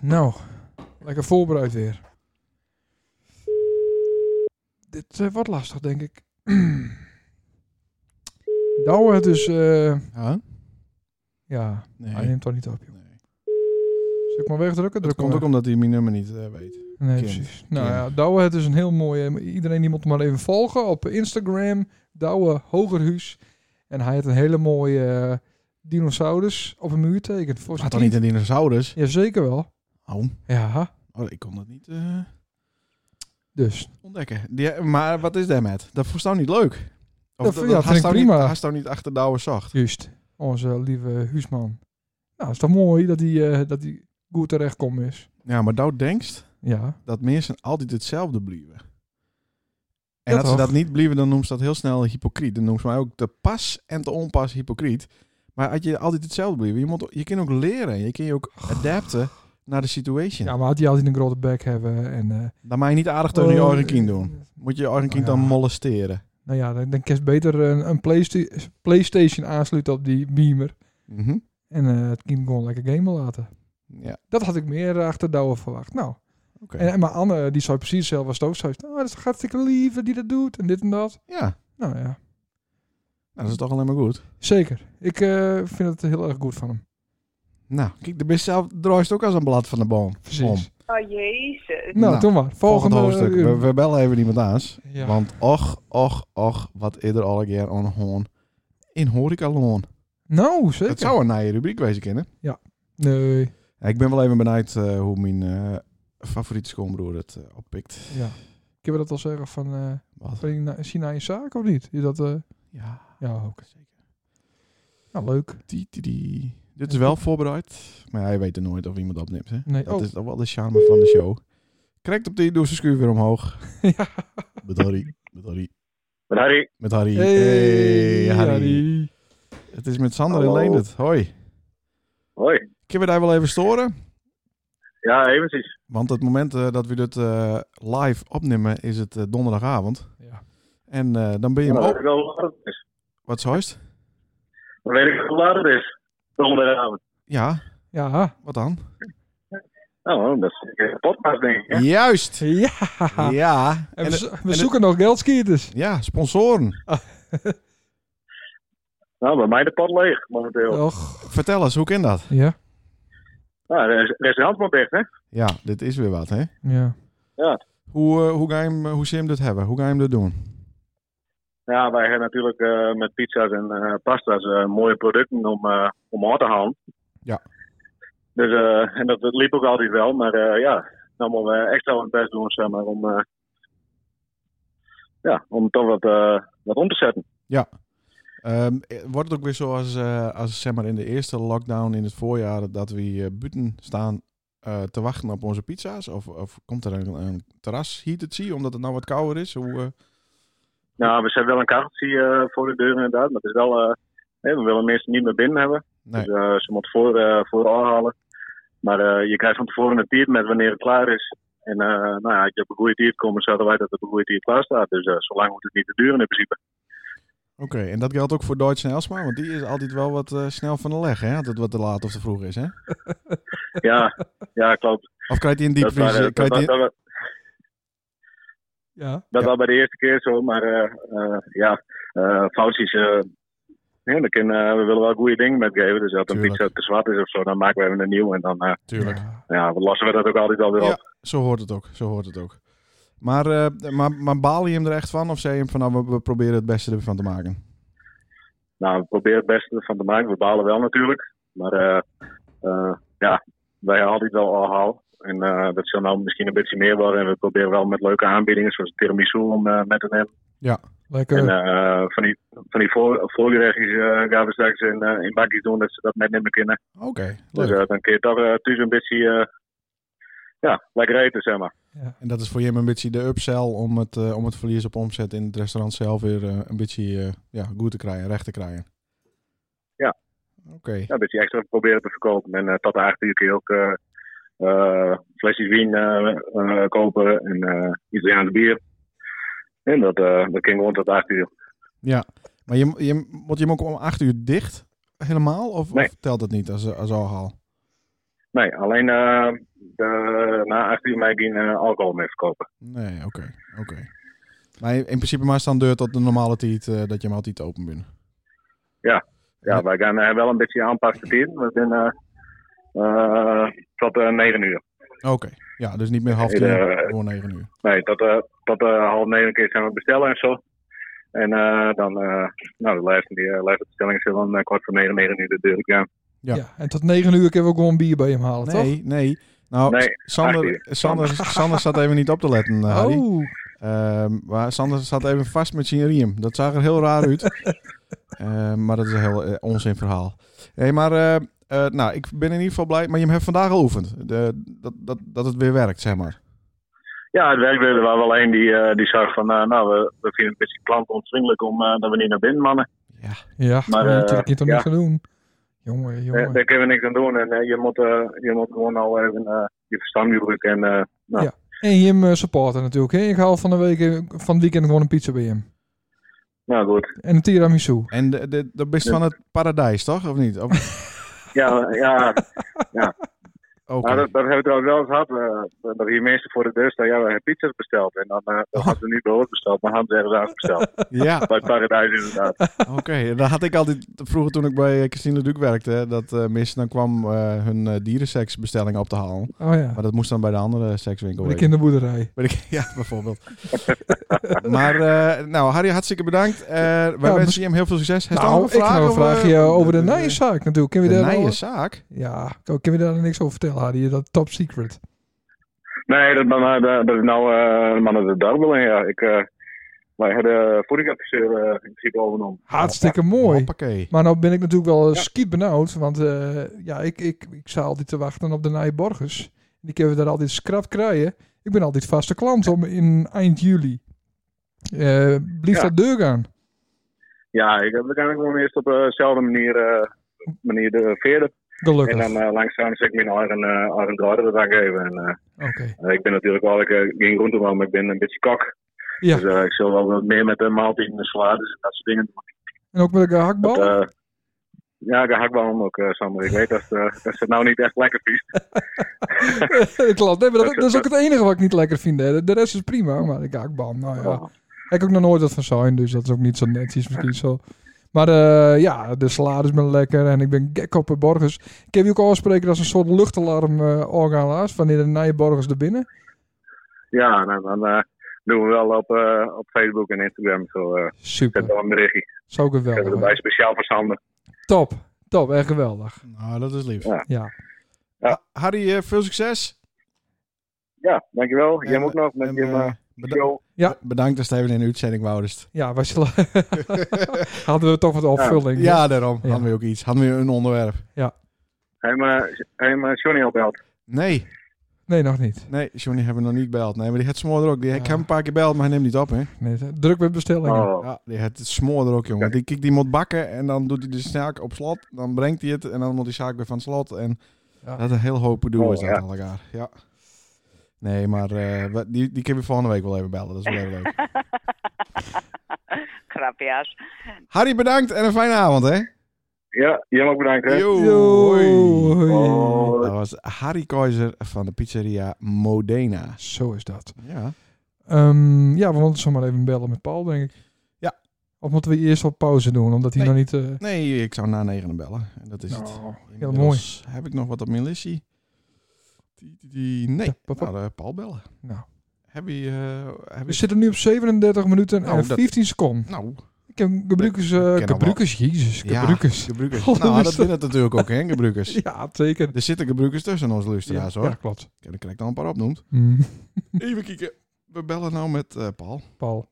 Nou, lekker voorbereid weer. Dit eh, wordt lastig, denk ik. Douwe, het is... eh,
Huh?
ja,
Nee.
hij neemt toch niet op. joh.
nee.
Zal ik maar
Dat
wegdrukken? Druk
komt
maar
ook omdat hij mijn nummer niet eh, weet.
Nee,
Kind.
precies. Nou
Kind.
ja, Douwe, het is een heel mooi... eh, Iedereen die moet hem maar even volgen op Instagram. Douwe Hogerhuis. En hij heeft een hele mooie eh, dinosaurus op een muur tekent. Voor
Had
zijn
dan niet een dinosaurus?
Ja, zeker wel.
Oh,
Ja,
oh, ik kon dat niet eh,
dus.
ontdekken. Die, maar wat is daar met? Dat vond jou niet leuk.
Ja,
dat,
ja, vind ik
jou
prima.
Niet, had jou niet achter Douwe zacht.
Juist. Onze lieve Huisman. Nou, is toch mooi dat hij, eh, dat hij goed terechtkomt is.
Ja, maar Douwe denkst
Ja.
dat mensen altijd hetzelfde blieven. En
Ja,
als ze
toch?
dat niet blieven, dan noemt ze dat heel snel hypocriet. Dan noemt ze mij ook te pas en te onpas hypocriet. Maar als je altijd hetzelfde blieven, je, moet, je kan ook leren. Je kan je ook adapten naar de situation.
Oh. ja, maar had hij altijd een grote bek hebben. En, eh,
Dan mag je niet aardig tegen je
oh,
eigen kind doen. Moet je je eigen kind
Nou
dan
ja.
molesteren.
Nou ja, dan, dan kan je beter een, een Playsta- PlayStation aansluiten op die beamer.
Mhm.
En eh, het kind gewoon lekker gamen laten.
Ja,
Dat had ik meer eh, achter Douwe verwacht. Nou,
oké.
en, en maar Anne, die zou precies zelf als Stoof zei, oh, dat is toch hartstikke lief dat die dat doet en dit en dat.
Ja, nou,
Nou ja,
dat is toch alleen maar goed.
zeker. Ik eh, vind het heel erg goed van hem.
Nou, kijk, de best zelf draait ook als een blad van de boom.
Precies.
Om.
Oh, jezus.
Nou,
Nou,
toen maar.
Volgend
Volgende,
hoofdstuk.
uur.
We, we bellen even iemand aans.
Ja.
Want och, och, och, wat is er al een keer aan hoorn. In horecaloon.
Nou, zeker.
Het zou een nieuwe rubriek wezen kennen.
Nee.
Ik ben wel even benieuwd eh, hoe mijn eh, favoriete schoonbroer het eh, oppikt.
Ja. Kunnen we dat al zeggen van... eh
Wat?
ben je na- China in zaak of niet? Is dat... eh,
Ja,
ja, oké.
zeker.
Nou, leuk.
Die, die, die. Dit is wel voorbereid. Maar hij weet er nooit of iemand opneemt. Hè?
Nee,
Dat
oh.
is toch wel de charme van de show. Krijgt op die, doe zijn schuur weer omhoog.
ja.
Met Harry. Met Harry.
Maar Harry,
Met Harry.
Hey,
Hey, Harry.
Harry.
Het is met Sander en
Hallo.
Leendert. Hoi.
hoi.
Kunnen we daar wel even storen?
Ja, eventjes.
Want het moment eh, dat we dit eh, live opnemen is het eh, donderdagavond.
Ja.
En eh, dan ben je
Dan
hem ook.
weet ik al hoe laat het is.
Wat zoist?
Dan weet ik al hoe laat het is. Donderdagavond.
Ja,
Ja.
wat dan?
Nou, dat is een podcast, denk ik. hè?
Juist!
Ja.
Ja.
En
En
we,
het-
zo- we
het-
zoeken nog geldskieters.
ja, sponsoren.
Nou, bij mij de pot leeg momenteel.
Och.
Vertel eens, hoe kan dat?
Ja.
Nou, er is, er is een handband dicht, hè?
Ja, dit is weer wat, hè?
Ja.
Hoe, eh, hoe, ga je hem, hoe zie je hem dit hebben? Hoe ga je hem dit doen?
Ja, wij hebben natuurlijk eh, met pizza's en eh, pasta's eh, mooie producten om, eh, om aan te halen.
Ja.
Dus, eh, en dat, dat liep ook altijd wel, maar eh, ja, dan moeten we extra ons best doen, zeg maar, om, eh, ja, om toch wat, eh, wat om te zetten.
Ehm, eh, wordt het ook weer zoals eh, als, zeg maar, in de eerste lockdown in het voorjaar dat we eh, buiten staan eh, te wachten op onze pizza's? Of, of komt er een, een terras hier te zien omdat het nou wat kouder is? Hoe, eh,
Nou, we zetten wel een kaartje eh, voor de deur inderdaad, maar het is wel, eh, hè, we willen mensen niet meer binnen hebben.
Nee.
Dus eh, ze moeten voor, eh voor aanhalen. Maar eh, je krijgt van tevoren een tiert met wanneer het klaar is. En eh, nou ja, als je op een goede tiert komt, zouden wij dat op een goede tiert klaar staat. Dus eh, zo lang moet het niet te duren in principe.
Oké, en dat geldt ook voor Deutsch en Elsma, want die is altijd wel wat eh, snel van de leg, hè? Altijd wat te laat of te vroeg is, hè?
Ja, ja klopt.
Of krijgt hij een
Dat,
diepvries?
waren-
eh,
dat,
krijgt
dat,
hij-
dat,
Ja.
dat
Ja.
was bij de eerste keer zo. Maar eh, eh, ja, eh, foutjes. eh, ja, we, kunnen, eh, we willen wel goede dingen met geven. Dus als een
Tuurlijk.
pizza te zwart is of zo, dan maken we even een nieuw. En dan eh,
Tuurlijk.
Ja.
ja, we lossen we dat ook altijd al weer
Ja.
op.
Zo hoort het ook, zo hoort het ook. Maar, eh, maar, maar baal je hem er echt van? Of zei je hem van, nou, we, we proberen het beste ervan te maken?
Nou, we proberen het beste van te maken. We balen wel natuurlijk. Maar eh, eh, ja, wij halen dit wel al haal. En eh, dat zal nou misschien een beetje meer worden. En we proberen wel met leuke aanbiedingen, zoals tiramisu, om eh, met te nemen. En
Lekker.
eh, van die, van die voor, voorgerechtjes eh, gaan we straks in, eh, in bakjes doen, dat ze dat net niet meer kunnen.
Oké,
Dus
leuk.
eh, dan kun je toch eh, thuis een beetje eh, ja, lekker eten, zeg maar.
En dat is voor je een beetje de upsell om het, eh, om het verlies op omzet in het restaurant zelf weer eh, een beetje eh, ja, goed te krijgen, recht te krijgen.
Ja.
Oké.
Ja, een beetje extra proberen te verkopen. En eh, tot daarachter kun je ook eh eh, flesjes wien eh, eh, kopen en eh Italiaans bier. En dat, eh dat ging gewoon tot achter uur.
Ja, maar je, je, moet je hem ook om acht uur dicht helemaal? Of,
Nee.
of telt dat niet als, als alhaal?
Nee, alleen eh, de, na acht uur mij geen eh, alcohol meer verkopen.
Nee, oké. oké. Maar in principe maar staan deur tot de normale tijd eh, dat je hem altijd open bent.
Ja,
Ja.
wij gaan eh, wel een beetje aanpassen hier. We zijn eh, eh, tot eh, negen uur.
Oké, ja, dus niet meer half
Nee, eh,
tien,
de-
gewoon negen uur.
Nee, tot, eh, tot eh, half negen keer gaan we bestellen en zo. En eh, dan, eh nou, de lijst, die, eh, lijstbestellingen zullen dan eh, kwart voor negen, negen uur de deur uit gaan.
Ja.
Ja. En tot 9 uur kunnen we ook gewoon een bier bij hem halen,
nee, nee. Nou,
Nee,
S-
acht
Sander,
uur.
Sander, Sander zat even niet op te letten, eh,
toch?
Harry.
Oh.
Ehm, maar Sander zat even vast met zijn riem. Dat zag er heel raar uit. Ehm, maar dat is een heel eh, onzin verhaal. Hé, maar eh, eh, nou, ik ben in ieder geval blij. Maar je hebt vandaag al oefend. De, dat, dat, dat het weer werkt, zeg maar.
Ja, het werkte er waren wel een die, eh, die zag van, eh, nou, we, we vinden het een beetje klantonvriendelijk om eh, dat we niet naar binnen mannen.
Ja,
Ja, maar,
Maar,
dat
eh,
natuurlijk niet toch
ja.
niet gaan doen. Jongen,
Eh,
jongen.
daar kunnen we niks aan doen en eh, je, moet, eh, je moet gewoon al even eh, je verstand gebruiken. En, eh,
En je hem eh, supporten natuurlijk. Hè? Ik haal van de week eh, van het weekend gewoon een pizza bij hem.
nou goed,
En een tiramisu.
en de, de, dat best van het paradijs, toch? Of niet? Of,
ja, ja,
Oké.
Nou, dat, dat hebben we trouwens wel eens gehad. eh, dat hier mensen voor de deur staan. Ja, we hebben pizza's besteld. En dan, eh dat hadden we niet bij ons besteld, maar hadden ze ergens anders besteld.
Ja,
bij Paradijs inderdaad.
oké. Dan had ik altijd, vroeger toen ik bij eh, Christine Duc werkte, hè, dat eh mis, dan kwam eh, hun eh, dierenseksbestellingen op te halen.
Oh ja,
Maar dat moest dan bij de andere sekswinkel.
bij de
wezen.
kinderboerderij.
Weet ik- ja, bijvoorbeeld. maar, eh, nou, Harry, hartstikke bedankt. Eh, wij
mis-
wensen je hem heel veel succes. Heeft
nou, ik heb nog een
eh,
vraagje over de nijenzaak natuurlijk. Kun
De
je daar wel-
nijenzaak?
Ja, kun je daar nou niks over vertellen, Harry? Dat top secret.
Nee, dat, ben- eh, dat, dat is nou eh, de man uit de duivel. Ja. Ik, eh wij hadden voedingadviseur eh, in principe overnomen.
Hartstikke mooi.
Hoppakee.
Maar nou ben ik natuurlijk wel eh,
Ja.
skiet benauwd. Want eh, ja, ik, ik, ik sta altijd te wachten op de Nije Borgers. Die kunnen we daar altijd scrap krijgen. Ik ben altijd vaste klant om in eind juli. Eh blieft
Ja.
dat deur gaan.
Ja, ik, we gaan ook wel eerst op eh, dezelfde manier, eh, manier de veerde. En
Gelukkig.
dan eh, langzaam zet ik mijn eigen, eh eigen draden eraan geven. En, eh,
Oké.
ik ben natuurlijk wel, ik eh, geen groenteman, maar ik ben een beetje kok.
Ja.
Dus eh, ik zal wel wat meer met de maaltijden en salades en dat soort dingen doen.
En ook met een hakbal?
Oh.
Dat, eh, ja, ik hakbal hem ook, eh Sander. Ik weet dat, eh, dat ze het nou niet echt lekker vies.
ik las. Nee, maar dat,
dat-
dat is ook het enige wat ik niet lekker vind. Hè. De- De rest is prima, maar ik hakbal. Nou ja. Ik heb ook nog nooit wat van zijn, dus dat is ook niet zo netjes misschien zo. Maar eh, ja, de salades ben lekker en ik ben gek op de borgers. Ik heb je ook afspreken als een soort luchtalarm eh orgaan laatst, wanneer de nije borgers er binnen.
Ja, dan, dan eh, doen we wel op, eh, op Facebook en Instagram. Zo, eh zet
Super,
wel een berichtje.
zo
Zetten we
geweldig.
erbij
hè.
speciaal voor Sander.
Top, top, echt geweldig.
Nou, dat is lief.
Ja.
Ja,
Ha- Harry, eh, veel succes.
Ja, dankjewel. Jij
En,
moet nog met
en,
je
eh,
eh,
beda-
show.
Ja.
Bedankt dat Steven in de uitzending dus- woudest.
ja wij zullen... hadden we toch wat opvulling. hè?
Ja, daarom.
Ja.
Hadden we ook iets. Hadden we een onderwerp.
Hij heeft me Johnny opbelt.
Nee,
Nee, nog niet.
nee, Johnny hebben we nog niet beld. Nee, maar die had smoor er ook. Die, Ik
Ja.
heb hem een paar keer beld, maar hij neemt niet op, hè.
Nee, druk met bestellingen.
Oh.
Ja, die had het smoor er ook, jongen. Die, kijk, die moet bakken en dan doet hij de zaak op slot. Dan brengt hij het en dan moet die zaak weer van slot. En
Ja.
dat een heel hoop doen
Oh,
is dat
ja.
aan elkaar. Ja. Nee, maar eh, we- die, die kunnen we volgende week wel even bellen. Dat is wel heel leuk.
Grapjas.
Harry, bedankt en een fijne avond, hè.
Ja, jij mag bedankt. Hè. Oh,
Yo,
Yo,
hoi.
hoi.
Hoi.
Dat was Harry Keizer van de pizzeria Modena.
Zo is dat.
Ja.
Ehm, ja, we moeten zomaar even bellen met Paul, denk ik.
Ja.
Of moeten we eerst op pauze doen, omdat hij
Nee.
nog niet... eh,
Nee, ik zou na negenen bellen. En dat is het.
Nou, heel mooi.
Inmiddels Heb ik nog wat op mijn listie? Die- die- die- Nee,
Ja, pap, pap.
nou, eh, Paul bellen.
Nou. Dus-
Heb je... eh, heb
We
je-
zitten nu op 37 minuten
Nou,
en
dat-
15 seconden.
Nou,
Ik heb gebruikers...
Ik ken
eh
hem wel.
gebruikers, jezus,
Ja.
gebruikers.
gebruikers.
Goh,
nou,
dat
dat
is-
is het natuurlijk ook, hè, gebruikers.
dus- Oh, Ja, zeker.
Er zitten gebruikers tussen onze
Ja,
luisteraars, hoor.
ja, klopt.
Ik heb er krijg ik al een paar opnoemd.
Mm,
Even kijken. We bellen nou met eh, Paul.
Paul.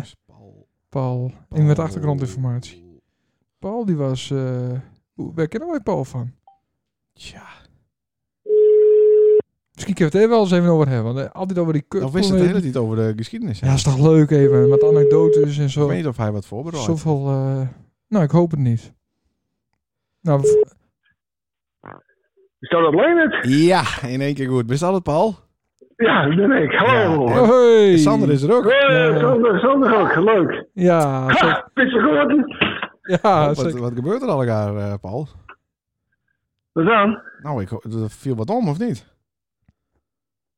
Dus Paul.
Paul.
Paul.
In met achtergrondinformatie. Paul, die was... eh hoe- waar kennen wij Paul van?
Tja,
Misschien kunnen we het er wel eens even over hebben. Want eh, altijd over die kut.
dan wist het nou, de hele tijd over de geschiedenis. hè?
Ja, is toch leuk even. Met anekdotes en
Ik
zo.
weet niet of hij wat voorbereid heeft.
Zoveel... eh, nou, ik hoop het niet. Nou, v-
Is dat dat Leonard?
Ja, in één keer goed. Wist dat het, Paul?
Ja, dat ben ik. Hallo.
Ja.
Ja,
oh, hey.
Sander is er ook.
Ja.
Sander, Sander ook. Leuk.
Ja, zeker.
Ha, pizza geworden.
ja,
wat,
zeker.
wat gebeurt er al elkaar, eh, Paul?
Wat dan?
Nou, ik, ho- er viel wat om, of niet?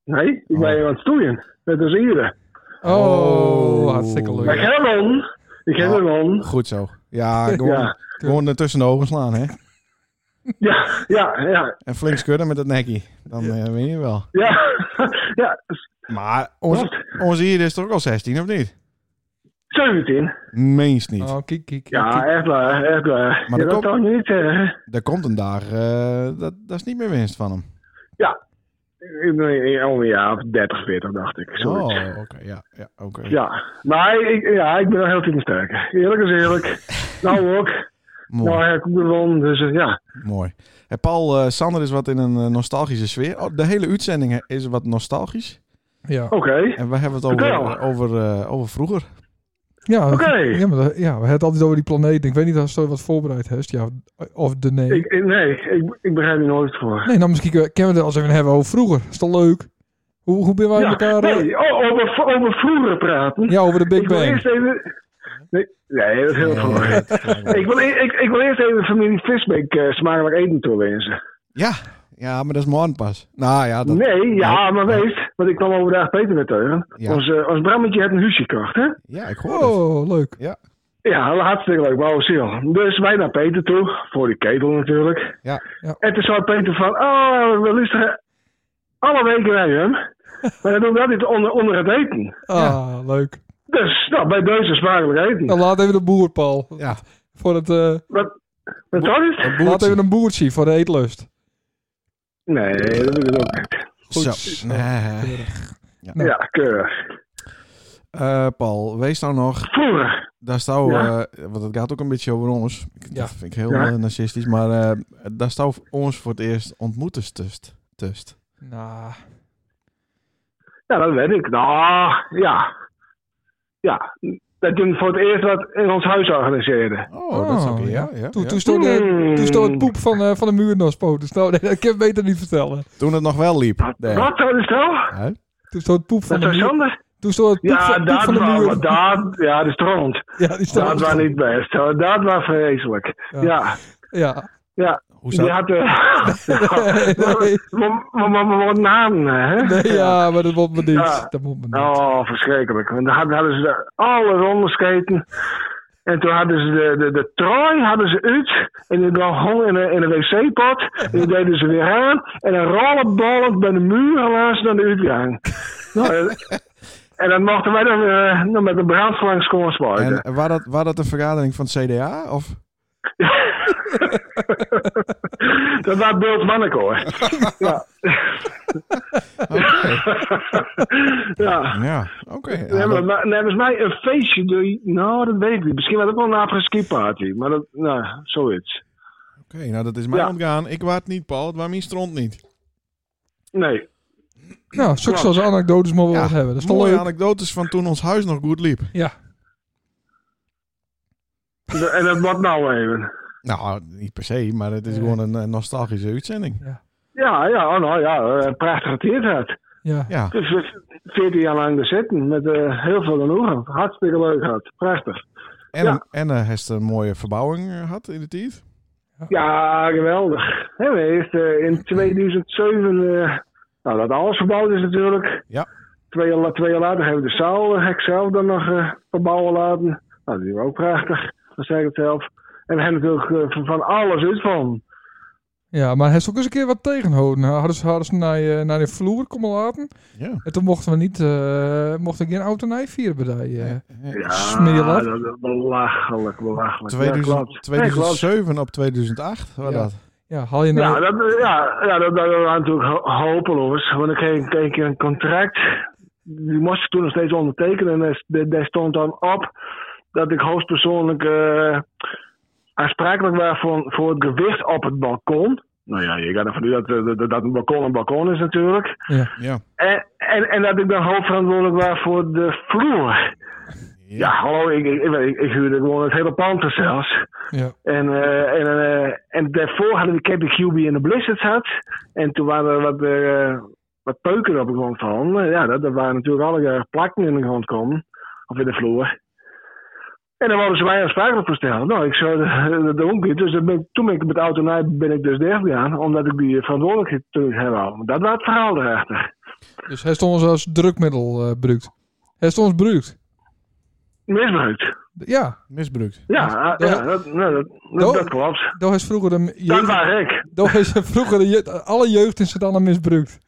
Nee, ik ben hier aan het stoeien. Met de zieren.
Oh, hartstikke
Maar ik
leuk.
heb hem on. Ik heb
Ja.
hem on.
Goed zo. Ja, gewoon,
Ja.
gewoon er tussen de ogen slaan, hè?
Ja, ja, ja.
En flink schudden met dat nekkie. Dan eh, win je wel.
Ja, ja.
Maar onze, onze hier is toch ook al 16, of niet?
17.
Meens niet.
Oh, kijk, kijk.
Ja,
kijk.
echt waar, echt waar.
Maar
je
er
dat
komt-
toch niet eh, zeggen.
Er komt een dag, eh, dat, dat is niet meer winst van hem.
Ik ben al een jaar of 30, 40 dacht ik.
Oh,
Zoiets.
oké. ja, ja, oké.
Ja, maar ik, ja, ik ben wel heel tien sterker. Eerlijk is eerlijk. nou ook.
Mooi.
Nou, ja, ik heb gewonnen, dus eh, ja.
Mooi. Hey, Paul, eh, Sander is wat in een eh, nostalgische sfeer. Oh, de hele uitzending eh, is wat nostalgisch.
Ja.
Oké.
En we hebben het over,
Vertel.
over, eh, over vroeger.
Ja,
Oké.
ja, maar dat- ja, we hebben het altijd over die planeet. Ik weet niet of je wat voorbereid hebt. Ja, of de nee.
Ik, ik- nee, ik, ik begrijp er nooit voor.
Nee, nou misschien kunnen we het als even hebben over vroeger. Is toch leuk? Hoe, hoe ben wij
Ja,
elkaar... eh,
nee, o- over, over vroeger praten.
ja, over de Big
ik wil
Bang.
eerst even...
Nee, dat is heel goed.
Ja, dat kan wel.
Ik wil, e- ik, ik wil eerst even familie Visbeek eh, smakelijk eten toe wensen.
ja, ja, maar dat is morgen pas. Nou ja, dat,
Nee, ja, maar weet, want ik kwam overdag Peter met teugen.
Ja.
Ons, eh, ons Brammetje heeft een huisje gekocht, hè?
ja ik hoor het.
Oh, leuk.
Ja, hartstikke leuk, wauw, ziel. Dus wij naar Peter toe, voor die ketel natuurlijk.
Ja.
Ja.
En toen zei Peter van, oh, we luisteren alle weken naar hem. Maar dan doen we altijd onder, onder het eten.
Ah, leuk.
Dus, nou, bij deze smakelijk eten.
Nou, laat even een boer, Paul.
Ja.
Voor het, eh,
Wat, wat dat is?
laat even een boertje voor de eetlust.
Nee, dat is het ook niet.
Goed.
Zo. Nee.
Nou.
Ja, keurig.
Eh, Paul, wees nou nog.
Vroeger.
Daar staan
Ja.
want het gaat ook een beetje over ons. Ik-
Ja.
Dat vind ik heel
Ja.
eh, narcistisch. Maar eh, daar staan ons voor het eerst ontmoeten tust. tust.
Nou,
Ja, dat weet ik. Nou, ja. Ja, dat doen voor het eerst wat in ons huis organiseren.
Oh, dat is oké. Ja,
ja.
ja,
toen,
ja.
toen stond, eh,
Hmm.
toen stond het poep van, eh, van de muur nog spoten. Nou, nee, dat kan ik beter niet vertellen.
Toen het nog wel liep. Nee.
Wat, dat is wel?
Hè?
Toen stond het poep van
Dat
de
is
muur.
zonde.
Toen stond het poep,
Ja,
van, poep
dat
van de
was,
muur.
dat, ja, de stront.
ja, die staat.
Dat was niet best. hoor. Dat was vreselijk.
Ja.
Ja, ja.
Ja.
Hoe
Die
staat
had... eh,
Nee,
Maar- maar- maar- maar Wat naam, hè?
nee, ja, maar dat moet me niet.
Ja.
Dat moet me niet.
Oh, verschrikkelijk. Want dan hadden, hadden ze de- alles ondersketen. En toen hadden ze de, de, de trooi hadden ze uit. En die dan hong in een, in een wc-pot. En die deden ze weer aan. En dan rollenballend bij de muur helaas naar de uitgang. Nou, en, en dan mochten wij dan eh, nog met een brandslang schoonspuiten.
En was dat, was dat een vergadering van het CDA? Of?
Dat was beeld manneke hoor. ja,
Oké.
ja.
ja, oké.
Nee,
Ja,
maar,
dat-
maar- nee, volgens mij een feestje. doe je- Nou, dat weet ik niet. Misschien was het wel een après-ski party. Maar dat, nou, zoiets.
Oké, nou dat is mij
Ja.
ontgaan. Ik waard niet, Paul. Het was mijn stront niet.
Nee.
Nou, zoek
Klopt.
zoals anekdotes maar wel wat hebben. Dat is toch
mooie
leuk.
anekdotes van toen ons huis nog goed liep.
Ja.
De- en dat wat nou even.
Nou, niet per se, maar het is
Nee.
gewoon een eh, nostalgische uitzending.
Ja, ja, oh, nou ja, eh, prachtig teertijd.
Ja.
Ja,
Dus Veertien jaar lang er zitten met eh, heel veel genoegen. Hartstikke leuk gehad. Prachtig.
en,
Ja.
en eh, heeft een mooie verbouwing eh, gehad in de tijd.
Ja, geweldig. Hè, we heeft eh, in 2007, eh, nou dat alles verbouwd is natuurlijk.
Ja.
Twee jaar, la- twee jaar later hebben we de zaal, eh, heb ik zelf dan nog eh, verbouwen laten. Nou, die was ook prachtig, dat zeg ik het zelf. En we hebben natuurlijk eh, van- van alles uit van.
Ja, maar hij is ook eens een keer wat tegenhouden. Nou, Hadden ze, hadden ze naar, je- naar de vloer komen laten.
Ja.
En toen mochten we niet, eh mochten we geen autonij vieren bij die, eh.
Ja,
Smeerlap.
dat is belachelijk, belachelijk. ja,
2000,
klopt. Ja, klopt.
2007 op 2008 was
Ja.
dat.
Ja, haal je
Ja,
nou...
dat, ja, ja, dat, dat waren natuurlijk ho- hopeloos. Want ik kreeg kreeg ik een contract. Die moest ik toen nog steeds ondertekenen. En daar- daar- daar stond dan op dat ik hoogstpersoonlijk eh, aansprakelijk was voor, voor het gewicht op het balkon. Nou ja, je gaat ervan uit dat, eh, dat, dat een balkon een balkon is natuurlijk.
Ja.
En, en, en dat ik dan hoofdverantwoordelijk was voor de vloer. Ja, hallo, ik, ik, ik, ik, ik huurde gewoon het hele pand er zelfs.
Ja.
En, eh, en, eh, en daarvoor hadden we Camping QB in de Blizzard had. En toen waren er wat, eh, wat peuken op de grond van. Ja, dat, dat waren natuurlijk alle eh, plakken in de grond komen. Of in de vloer. En dan wilden ze mij aansprakelijk voor stellen. Nou, ik zou dat doen niet. Dus dat ben ik- toen ben ik met de auto naar ben ik dus dicht gegaan. Omdat ik die verantwoordelijkheid natuurlijk heb. al. Dat was het verhaal erachter.
Dus hij stond ons als drukmiddel eh, gebruikt. Hij stond ons gebruikt.
Misbruikt.
Ja,
Misbruikt.
Ja, eh, ja, dat, nou, dat, dat,
Doe-
dat klopt.
daar is vroeger de
Dat
jeugd,
was ik.
daar is vroeger de jeugd, alle jeugd in Sint-Anna misbruikt.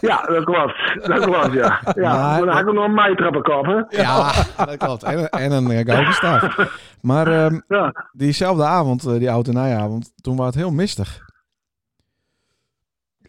Ja, dat klopt. Dat klopt, ja. ja.
Maar-
Maar dan had ik nog een meitrappenkop, hè.
Ja, dat klopt. En, en een eh, gouden staaf. Maar ehm,
Ja.
diezelfde avond, eh, die oude avond, toen was het heel mistig.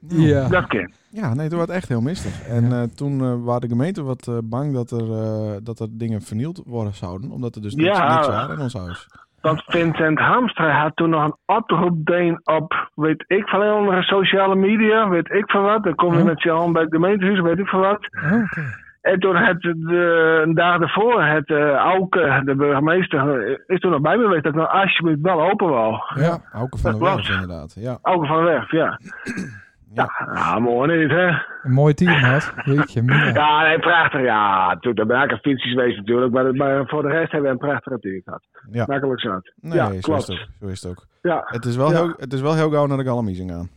Hmm. Nou,
Ja.
Dat kan.
Ja, nee, toen was het echt heel mistig. En eh, toen eh waren de gemeenten wat eh, bang dat er, eh, dat er dingen vernield worden zouden. Omdat er dus niks,
Ja.
niks waren in ons huis.
Want Vincent Hamstra had toen nog een oproep deen op, weet ik van andere sociale media, weet ik van wat. Dan kom je
Ja.
met je hand bij het gemeentehuis, weet ik van wat.
Oh, oké.
En toen had de, een dag daarvoor, het eh Auke, de burgemeester, eh, is toen nog bij me geweest dat ik nou alsjeblieft wel open wou.
Ja, Auke van
Dat
der Werf
klopt.
inderdaad. Ja,
Auke van de Werf, ja. Ja, ja mooi niet, hè?
Een mooi team had. Jeetje, mina.
Ja, nee, prachtig. Ja, natuurlijk, daar ben ik een fietsjes geweest natuurlijk. Maar, maar voor de rest hebben we een prachtige team gehad.
Ja.
Makkelijk zat.
Nee,
ja,
zo,
klopt.
Is het ook, zo is het ook.
Ja,
Het is wel,
Ja.
heel, het is wel heel gauw naar de Galamiezing aan.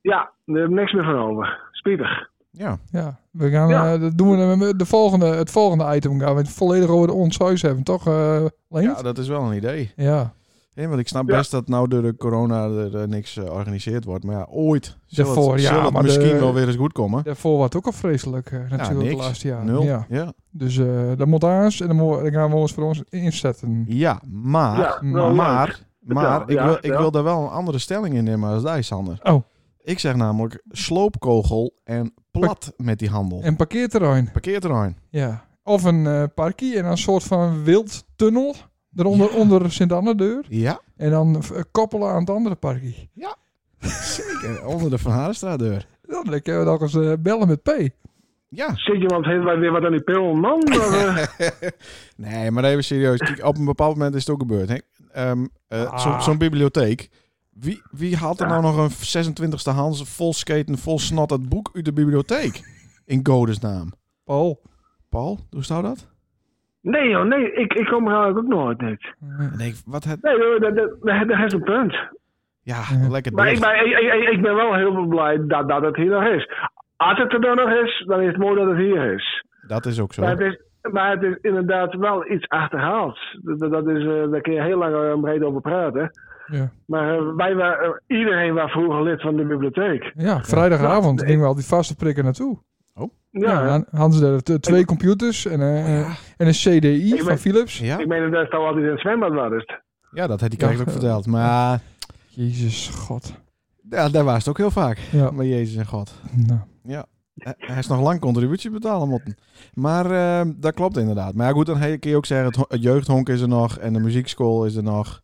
ja, er is niks meer van over. Spietig.
Ja,
Ja, we gaan,
Ja.
eh, dat doen we met de volgende, het volgende item gaan we het volledig over de ons huis hebben, toch eh Leendert?
ja dat is wel een idee.
Ja.
Hé, want ik snap
Ja.
best dat nou door de corona er eh, niks eh, georganiseerd wordt. Maar ja, ooit zal het,
Daarvoor, ja,
zal het
maar
misschien
de-
wel weer eens goed komen.
Daarvoor was het ook al vreselijk eh,
Ja,
natuurlijk het
niks.
laatste jaar.
Nul.
Ja.
ja.
Dus eh dat moet aan en dan, mo- dan gaan we ons voor ons inzetten.
Ja, maar,
Ja, wel
maar,
Vertel,
maar ik,
ja,
wil, ik
ja.
wil daar wel een andere stelling in nemen als jij, Sander.
Oh.
Ik zeg namelijk sloopkogel en plat met die handel.
Een parkeerterrein.
Parkeerterrein.
Ja. Of een eh parkie en dan een soort van wild tunnel eronder onder Sint-Anne-deur.
Ja,
En dan eh, koppelen aan het andere parkie.
zeker. Onder de Van Harenstraatdeur.
Dan kunnen we nog eens eh, bellen met P.
Ja.
Zit je want heeft weer wat aan die pil, man? Of, eh?
Nee, maar even serieus. Kijk, op een bepaald moment is het ook gebeurd. hè. Ehm, eh,
Ah.
zo- Zo'n bibliotheek. Wie, wie haalt er nou nog een 26e Hans vol skaten, vol snot het boek uit de bibliotheek? In godesnaam.
Paul.
Paul, hoe zou dat?
Nee, joh, nee, ik, ik kom er eigenlijk ook nooit niet.
En ik, wat het...
Nee, joh, dat, dat, dat, dat is een punt.
Ja, lekker
Maar ik
dicht.
ben, ik, ik, ik ben wel heel blij dat, dat het hier nog is. Als het er dan nog is, dan is het mooi dat het hier is.
Dat is ook zo.
Maar het is, maar het is inderdaad wel iets achterhaald. Dat, dat is, eh, daar kun je heel lang en breed over praten.
Ja.
Maar eh, wij waren, eh, iedereen was vroeger lid van de bibliotheek.
Ja, vrijdagavond gingen we al die vaste prikken naartoe.
Ja,
Ja, en Hans er t- twee computers en, eh, en een CDI
Ik
van
ben-
Philips.
Ja?
ik meen dat het al altijd in het zwembad was.
ja, dat had hij krijgt ook
Ja.
verteld. Maar
Jezus, god.
ja, daar was het ook heel vaak.
Ja,
Maar Jezus en God.
nou.
Hij- Hij is nog lang contributie betalen moeten. Maar eh, dat klopt inderdaad. Maar ja, goed, dan he- kun je ook zeggen, het ho- het jeugdhonk is er nog en de muziekschool is er nog.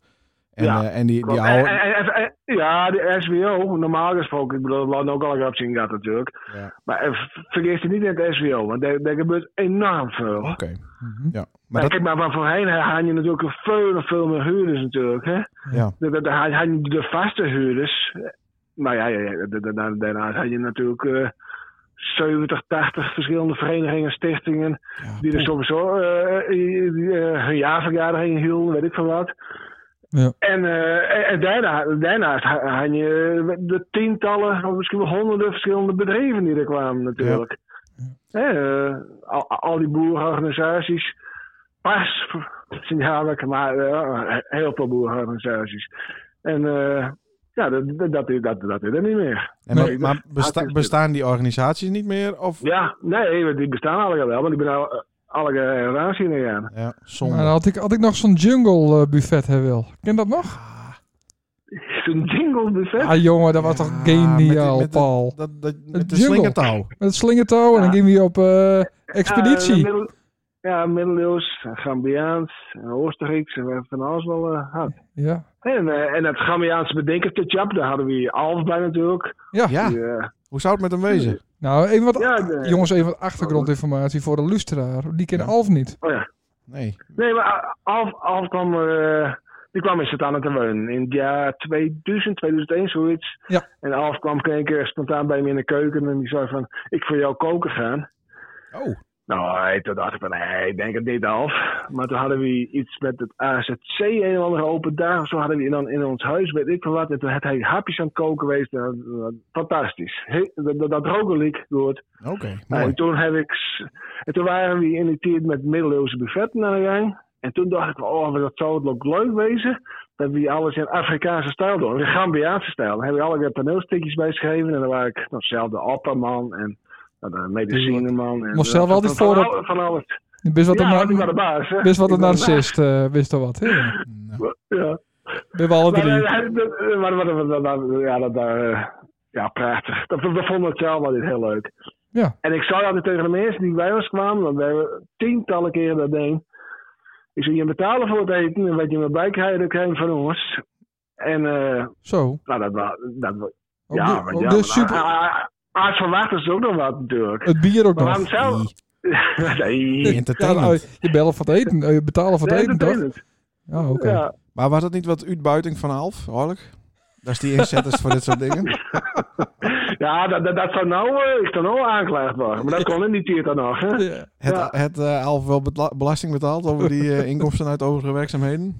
En,
Ja,
eh, en die, die
Klopt.
oude...
En- en- en- en- ja, de SWO, normaal gesproken, ik bedoel, we hadden ook al een grap zien gehad natuurlijk.
Ja.
Maar eh, ver- vergis je niet in het SWO, want daar, daar gebeurt enorm veel.
Oké,
Mhm.
ja. Maar
Maar
dat,
kijk, maar van voorheen had je natuurlijk veel, veel meer huurders natuurlijk. Hè?
Ja.
Dan dan- dan had je de vaste huurders. Maar ja, ja, ja, da- da- da- daarna had je natuurlijk eh 70, 80 verschillende verenigingen, stichtingen.
ja,
Die er sowieso eh, die, die, eh, hun jaarvergadering in hielden, weet ik veel wat.
Ja.
En, eh, en- en daarna, daarnaast ha- had je de tientallen, of misschien wel honderden verschillende bedrijven die er kwamen natuurlijk. Hè, eh, al, al die boerenorganisaties. Pas, signaal ik, maar eh, heel veel boerenorganisaties. En eh, ja, dat, dat, dat, dat, dat is er niet meer.
en maar-
Nee.
maar besta-
Ah, het is-
bestaan die organisaties niet meer? Of...
Ja, nee, die bestaan allemaal wel, maar die ben al, alle relatie in gegaan.
Ja,
Maar
zonde.
dan had ik, had ik nog zo'n jungle eh, buffet hebben wil. Ken dat nog?
Ah,
Zo'n jingle dus, buffet.
Ah jongen, dat was
ja,
toch
met die-
geniaal,
met de-
Paul. Met,
Dat, dat, met de
jungle.
slingertouw.
het slingertouw en dan
Ja.
gingen we op eh,
Ja,
expeditie.
middel- ja, middeleeuws, Gambiaans, en Oostenrijks en we hebben van alles wel eh, gehad.
ja.
En, eh, en het Gambiaanse bedenkertjap, daar hadden we hier Alf bij natuurlijk.
Ja.
Ja,
Die, eh,
hoe zou het met hem wezen?
Nou, even wat,
Ja, eh, oh, de-
jongens, even wat achtergrondinformatie voor de lustraar. Die kent
Ja.
Alf niet.
oh ja.
Nee.
Nee, maar eh, Alf, Alf kwam, eh, die kwam in Santana te wonen in het jaar 2000, 2001, zoiets.
Ja.
En Alf kwam een keer spontaan bij me in de keuken en die zei van, ik wil jou koken gaan.
Oh,
Nou, hey, toen dacht ik van, nee, ik denk het niet af. Maar toen hadden we iets met het AZC, een of andere open dag. of Zo hadden we in, in ons huis, weet ik veel wat. En toen had hij hapjes aan het koken geweest. En, eh, fantastisch. He, dat, dat, dat roken ik door het-
oké.
En
mooi.
toen, heb ik, s- en toen waren we in die tijd met middeleeuwse buffetten aan de gang. En toen dacht ik, van, oh, dat zou het ook leuk wezen. Dat we alles in Afrikaanse stijl doen. In Gambiaanse stijl. Daar hebben we allerlei paneelstukjes bij geschreven. En dan waren ik nou, dezelfde Apperman en nou, de medicineman. En,
Moest zelf
eh,
altijd
van-
voor
van
dat-
al- Van alles.
Best wat
ja,
een,
ik
nar-
was de baas. hè.
best wat
Ik
een
was de
narcist, eh, wist al wat. hè?
Nou,
baas. Ja.
We hebben alle
Maar,
drie.
eh, hij- dat- eh, maar- maar- maar- maar- maar- Ja, dat... eh, Ja, prachtig. Dat, we vonden het zelf altijd heel leuk.
Ja.
En ik zei altijd tegen de mensen die bij ons kwamen, want we hebben tientallen keren dat ding. Ik zei, je betalen voor het eten en wat je maar bij krijgt, dat krijg je van ons. En eh,
Zo.
nou, dat was... Dat, wa-
Ook
ja,
de,
maar
ook
ja,
de
maar,
super, Eh,
ah, ah, ah, het verwacht is ook nog wat natuurlijk.
het bier ook
Maar
nog.
waarom zelf... nee,
Nou, die
nee,
Ja, nou,
entertainment.
je bellen van het eten, eh, je betalen van het eten, toch?
entertainment.
Ja, oké.
Ja.
Maar was dat niet wat uitbuiting van Alf, hoorlijk? Dat is die inzetters voor dit soort dingen.
Ja, dat, dat, dat zou nou, eh, is dan nou aanklaagbaar. Maar dat kon in die tijd dan nog. Hè?
Ja.
Het,
Ja.
het eh, half wel betla- belasting betaald over die eh, inkomsten uit overige werkzaamheden.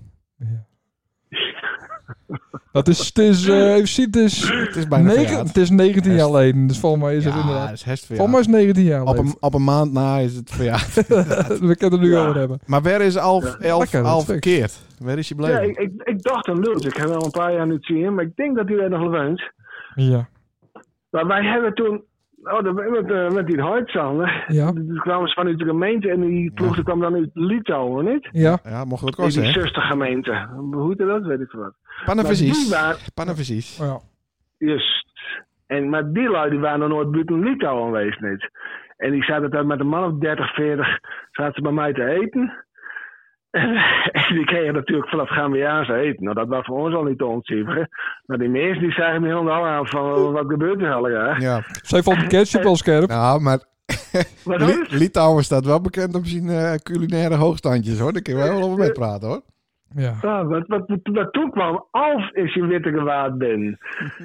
Dat is, het is, eh, even zien, het is,
Het is bijna
negen-
verjaard.
het is 19 jaar
Best.
geleden. Dus volgens mij is het
Ja,
inderdaad.
het is hest
Volgens mij
verjaard.
is het 19 jaar
Op
geleden.
een, op een maand na is het verjaard.
We kunnen het nu
Ja.
over hebben.
Maar waar is Alf, elf,
Lekker, dat
Alf
stuk.
verkeerd? Waar is je
Ja,
bleven?
ik, ik, ik dacht aan Lutz. Ik heb al een paar jaar niet zien, maar ik denk dat hij daar nog wel woont.
Ja.
Maar wij hebben toen, oh, dat- met, eh, met die Hartzander,
Ja.
die kwamen ze vanuit de gemeente en die ploeg die kwam dan uit Litouwen, niet?
Ja.
Ja, mocht wat
Die
kosten, hè?
zustergemeente. Hoe heette dat, weet ik veel wat. Maar die
Pannenvisies.
waren,
Pannenvisies.
Oh ja.
juist. En, maar die lui die waren dan nooit buiten Litouwen geweest, niet? En die zaten daar met een man of 30, 40, zaten ze bij mij te eten. En, die kregen natuurlijk vanaf Gambiaanse eten. Nou, dat was voor ons al niet te ontzien. Maar die meesten die zagen me helemaal aan van, wat gebeurt er al jaar?
Ja.
Zij vond de ketchup wel scherp.
Nou, maar
Wat
Li-
is het?
Litouwen staat wel bekend op zijn eh, culinaire hoogstandjes, hoor. Daar kun je wel over meepraten, hoor.
Ja.
Ja, wat, wat, wat, wat toen kwam, Alf is je witte gewaad ben.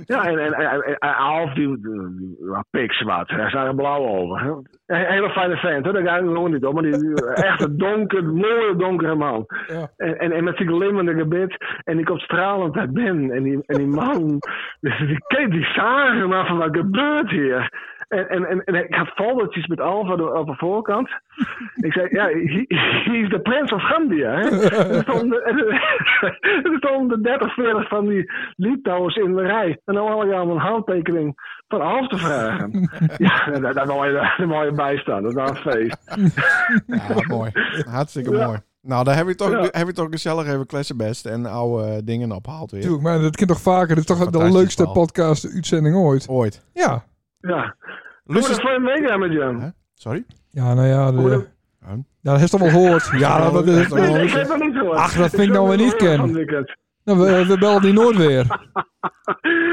Ja, en, en, en, en- en Alf, die, die, die was pikzwart. Hij zag er blauw over. hè. Een hele fijne vent, hoor. daar gaat het gewoon niet om. Maar die- die echt een donker, mooie donkere man.
Ja.
En, en, en met zijn glimmende gebit. En die komt stralend uit Ben. En die, en die man, dus die keek, die zagen maar van wat gebeurt hier. En, en, en, en ik had foldertjes met Alfa door- op de voorkant. Ik zei, ja, he, he is de prins of Gambia. Hè? Er stonden, er stonden 30, 40 van die Litouwers in de rij. En dan had ik allemaal een handtekening van Alf te vragen. Ja, daar- daar wou je, daar wou je bij staan. Dat was een feest.
Ja, mooi. Hartstikke mooi. Nou, daar heb je toch,
Ja.
heb je toch gezellig even klassenbest en oude eh, dingen opgehaald weer.
Tuurlijk, maar dat kan toch vaker. Dit is toch de
Fantastisch
leukste
verhaal.
podcast-uitzending ooit.
Ooit.
Ja.
Ja. Hoe
Luister-
dat voor je meegaan met Jan?
Hè? Sorry?
Ja, nou ja.
Hoe
De,
dat-
Huh?
ja, dat is toch wel gehoord. Ja, dat is toch
Nee,
wel
nee, ik heb
gehoord.
dat niet gehoord.
Ach, dat vind ik nou weer
heb
niet
het gehoord
ken.
van het weekend.
Nou, we, we bellen die nooit weer.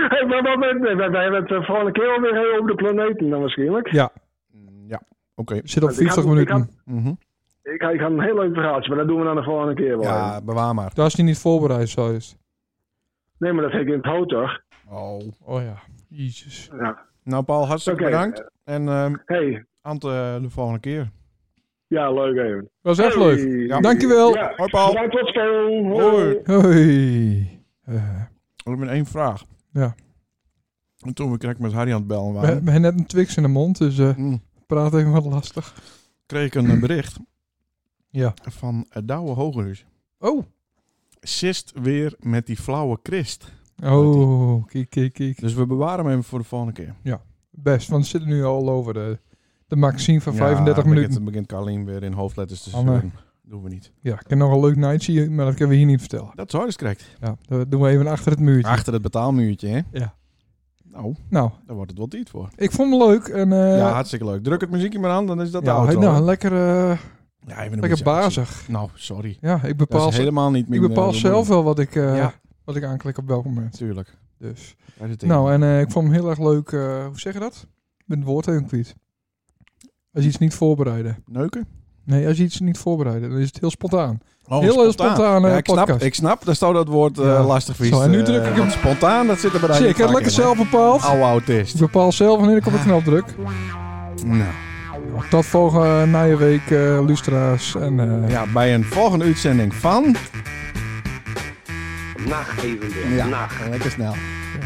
Hey, maar, maar, maar, nee, wij, wij hebben het de volgende keer alweer heel over de planeten dan waarschijnlijk.
Ja.
Mm, Ja, oké.
Zit op
Want ik
40
had- ik had-
minuten.
Mhm.
Ik, ik had een heel leuk verhaaltje, maar dat doen we dan de volgende keer wel. even.
Ja, bewaar maar.
Daar is hij niet voorbereid, zo is.
Nee, maar dat heb ik in het hoofd toch?
Oh.
Oh ja. Jezus.
Ja.
Nou, Paul, hartstikke
Oké.
bedankt. En ehm
Hey,
Ant, eh, de volgende keer.
ja, leuk even.
Was echt
Hey.
leuk. Dankjewel.
Ja.
Hoi, Paul.
Bedankt, tot spelen.
Hoi.
Hoi. Eh,
Ik heb één vraag.
Ja.
En toen we krek met Harry aan het bellen
we
waren,
hebben net een Twix in de mond, dus eh
mm,
praat even wat lastig.
kreeg ik een eh, bericht
Ja.
van eh, Douwe Hogerhuis.
Oh.
Sist weer met die flauwe Christ.
Oh, kijk, kijk, kijk.
Dus we bewaren hem even voor de volgende keer.
Best, want we zitten nu al over de, de maxime van
Ja,
35
begint-
minuten.
Dan begint Carlien weer in hoofdletters te
Oh, nee.
zeuren. Doen we niet.
Ja, ik heb nog een leuk nightje, hier, maar dat kunnen we hier niet vertellen.
Dat zou dus correct.
Ja, dat doen we even achter het muurtje.
Achter het betaalmuurtje, hè?
Ja.
Nou,
Nou,
daar wordt het wel tijd voor.
ik vond hem leuk. En, eh,
ja, hartstikke leuk. Druk het muziekje maar aan, dan is dat
ja,
de auto.
nou, een lekker, eh,
ja, even een
lekker
beetje actie.
bazig.
Nou, sorry.
Ja, ik
Dat
bepaal,
is helemaal niet eh,
ik
meer.
bepaal zelf wel wat ik, eh,
Ja.
wat ik aanklik op welk moment.
Natuurlijk.
Dus.
Daar zit ik.
Nou, en eh, ik vond hem heel erg leuk. eh, hoe zeg je dat? Ik ben het woord even kwijt. Als je iets niet voorbereiden.
Neuken?
Nee, als je iets niet voorbereiden, dan is het heel spontaan.
Oh,
Heel, heel spontaan, eh,
ja, ik snap,
podcast.
ik snap. Daar staat dat woord eh,
Ja.
lastig voor
Zo, en nu druk ik hem.
Spontaan, dat zit er bij
Zie, ik heb het lekker zelf bepaald.
Oude
Ik
autist.
bepaal zelf wanneer ik op de knop druk.
Nou,
Tot volgende najaarweek, eh lustra's. En eh,
ja, bij een volgende uitzending van...
Nacht even weer.
Ja,
Nacht.
lekker snel.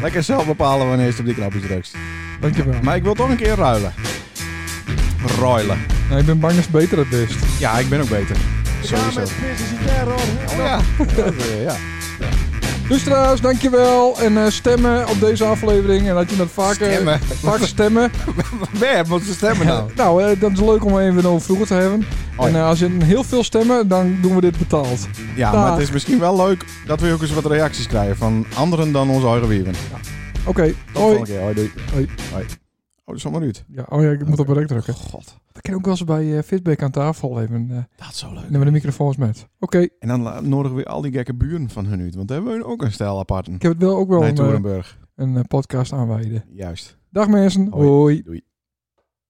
Lekker zelf bepalen wanneer je op die knopjes drukt.
dankjewel.
Maar ik wil toch een keer ruilen. Ruilen.
Nou, ik ben bang dat het beter het best.
Ja, ik ben ook beter. Sowieso. Oh ja. Ja, ja.
Lustra's, Dus dankjewel. En eh, stemmen op deze aflevering. En laat je dat vaker
Stemmen?
vaak stemmen.
Waar moet ze stemmen nou?
Nou, eh, dat is leuk om even over vroeger te hebben.
Oh,
en
ja.
eh, als je heel veel stemmen, dan doen we dit betaald.
Ja, maar het is misschien wel leuk dat we ook eens wat reacties krijgen van anderen dan onze eigen wieven.
Oké,
Tot
hoi.
volgende keer. Hoi, doei.
Hoi.
Hoi. Oh, dat is allemaal uit.
Ja, oh ja, ik moet op rek drukken.
God,
Dat kan ook wel eens bij eh, Fitback aan tafel even. eh
dat is zo leuk.
nemen we de microfoons met. Oké,
En dan la- nodigen we weer al die gekke buren van hun uit, want daar hebben we ook een stijl aparten.
ik heb het wel ook wel
Nee,
een, eh,
Torenburg.
een eh, podcast aanwijden.
Juist.
Dag mensen,
Hoi.
hoi.
Doei.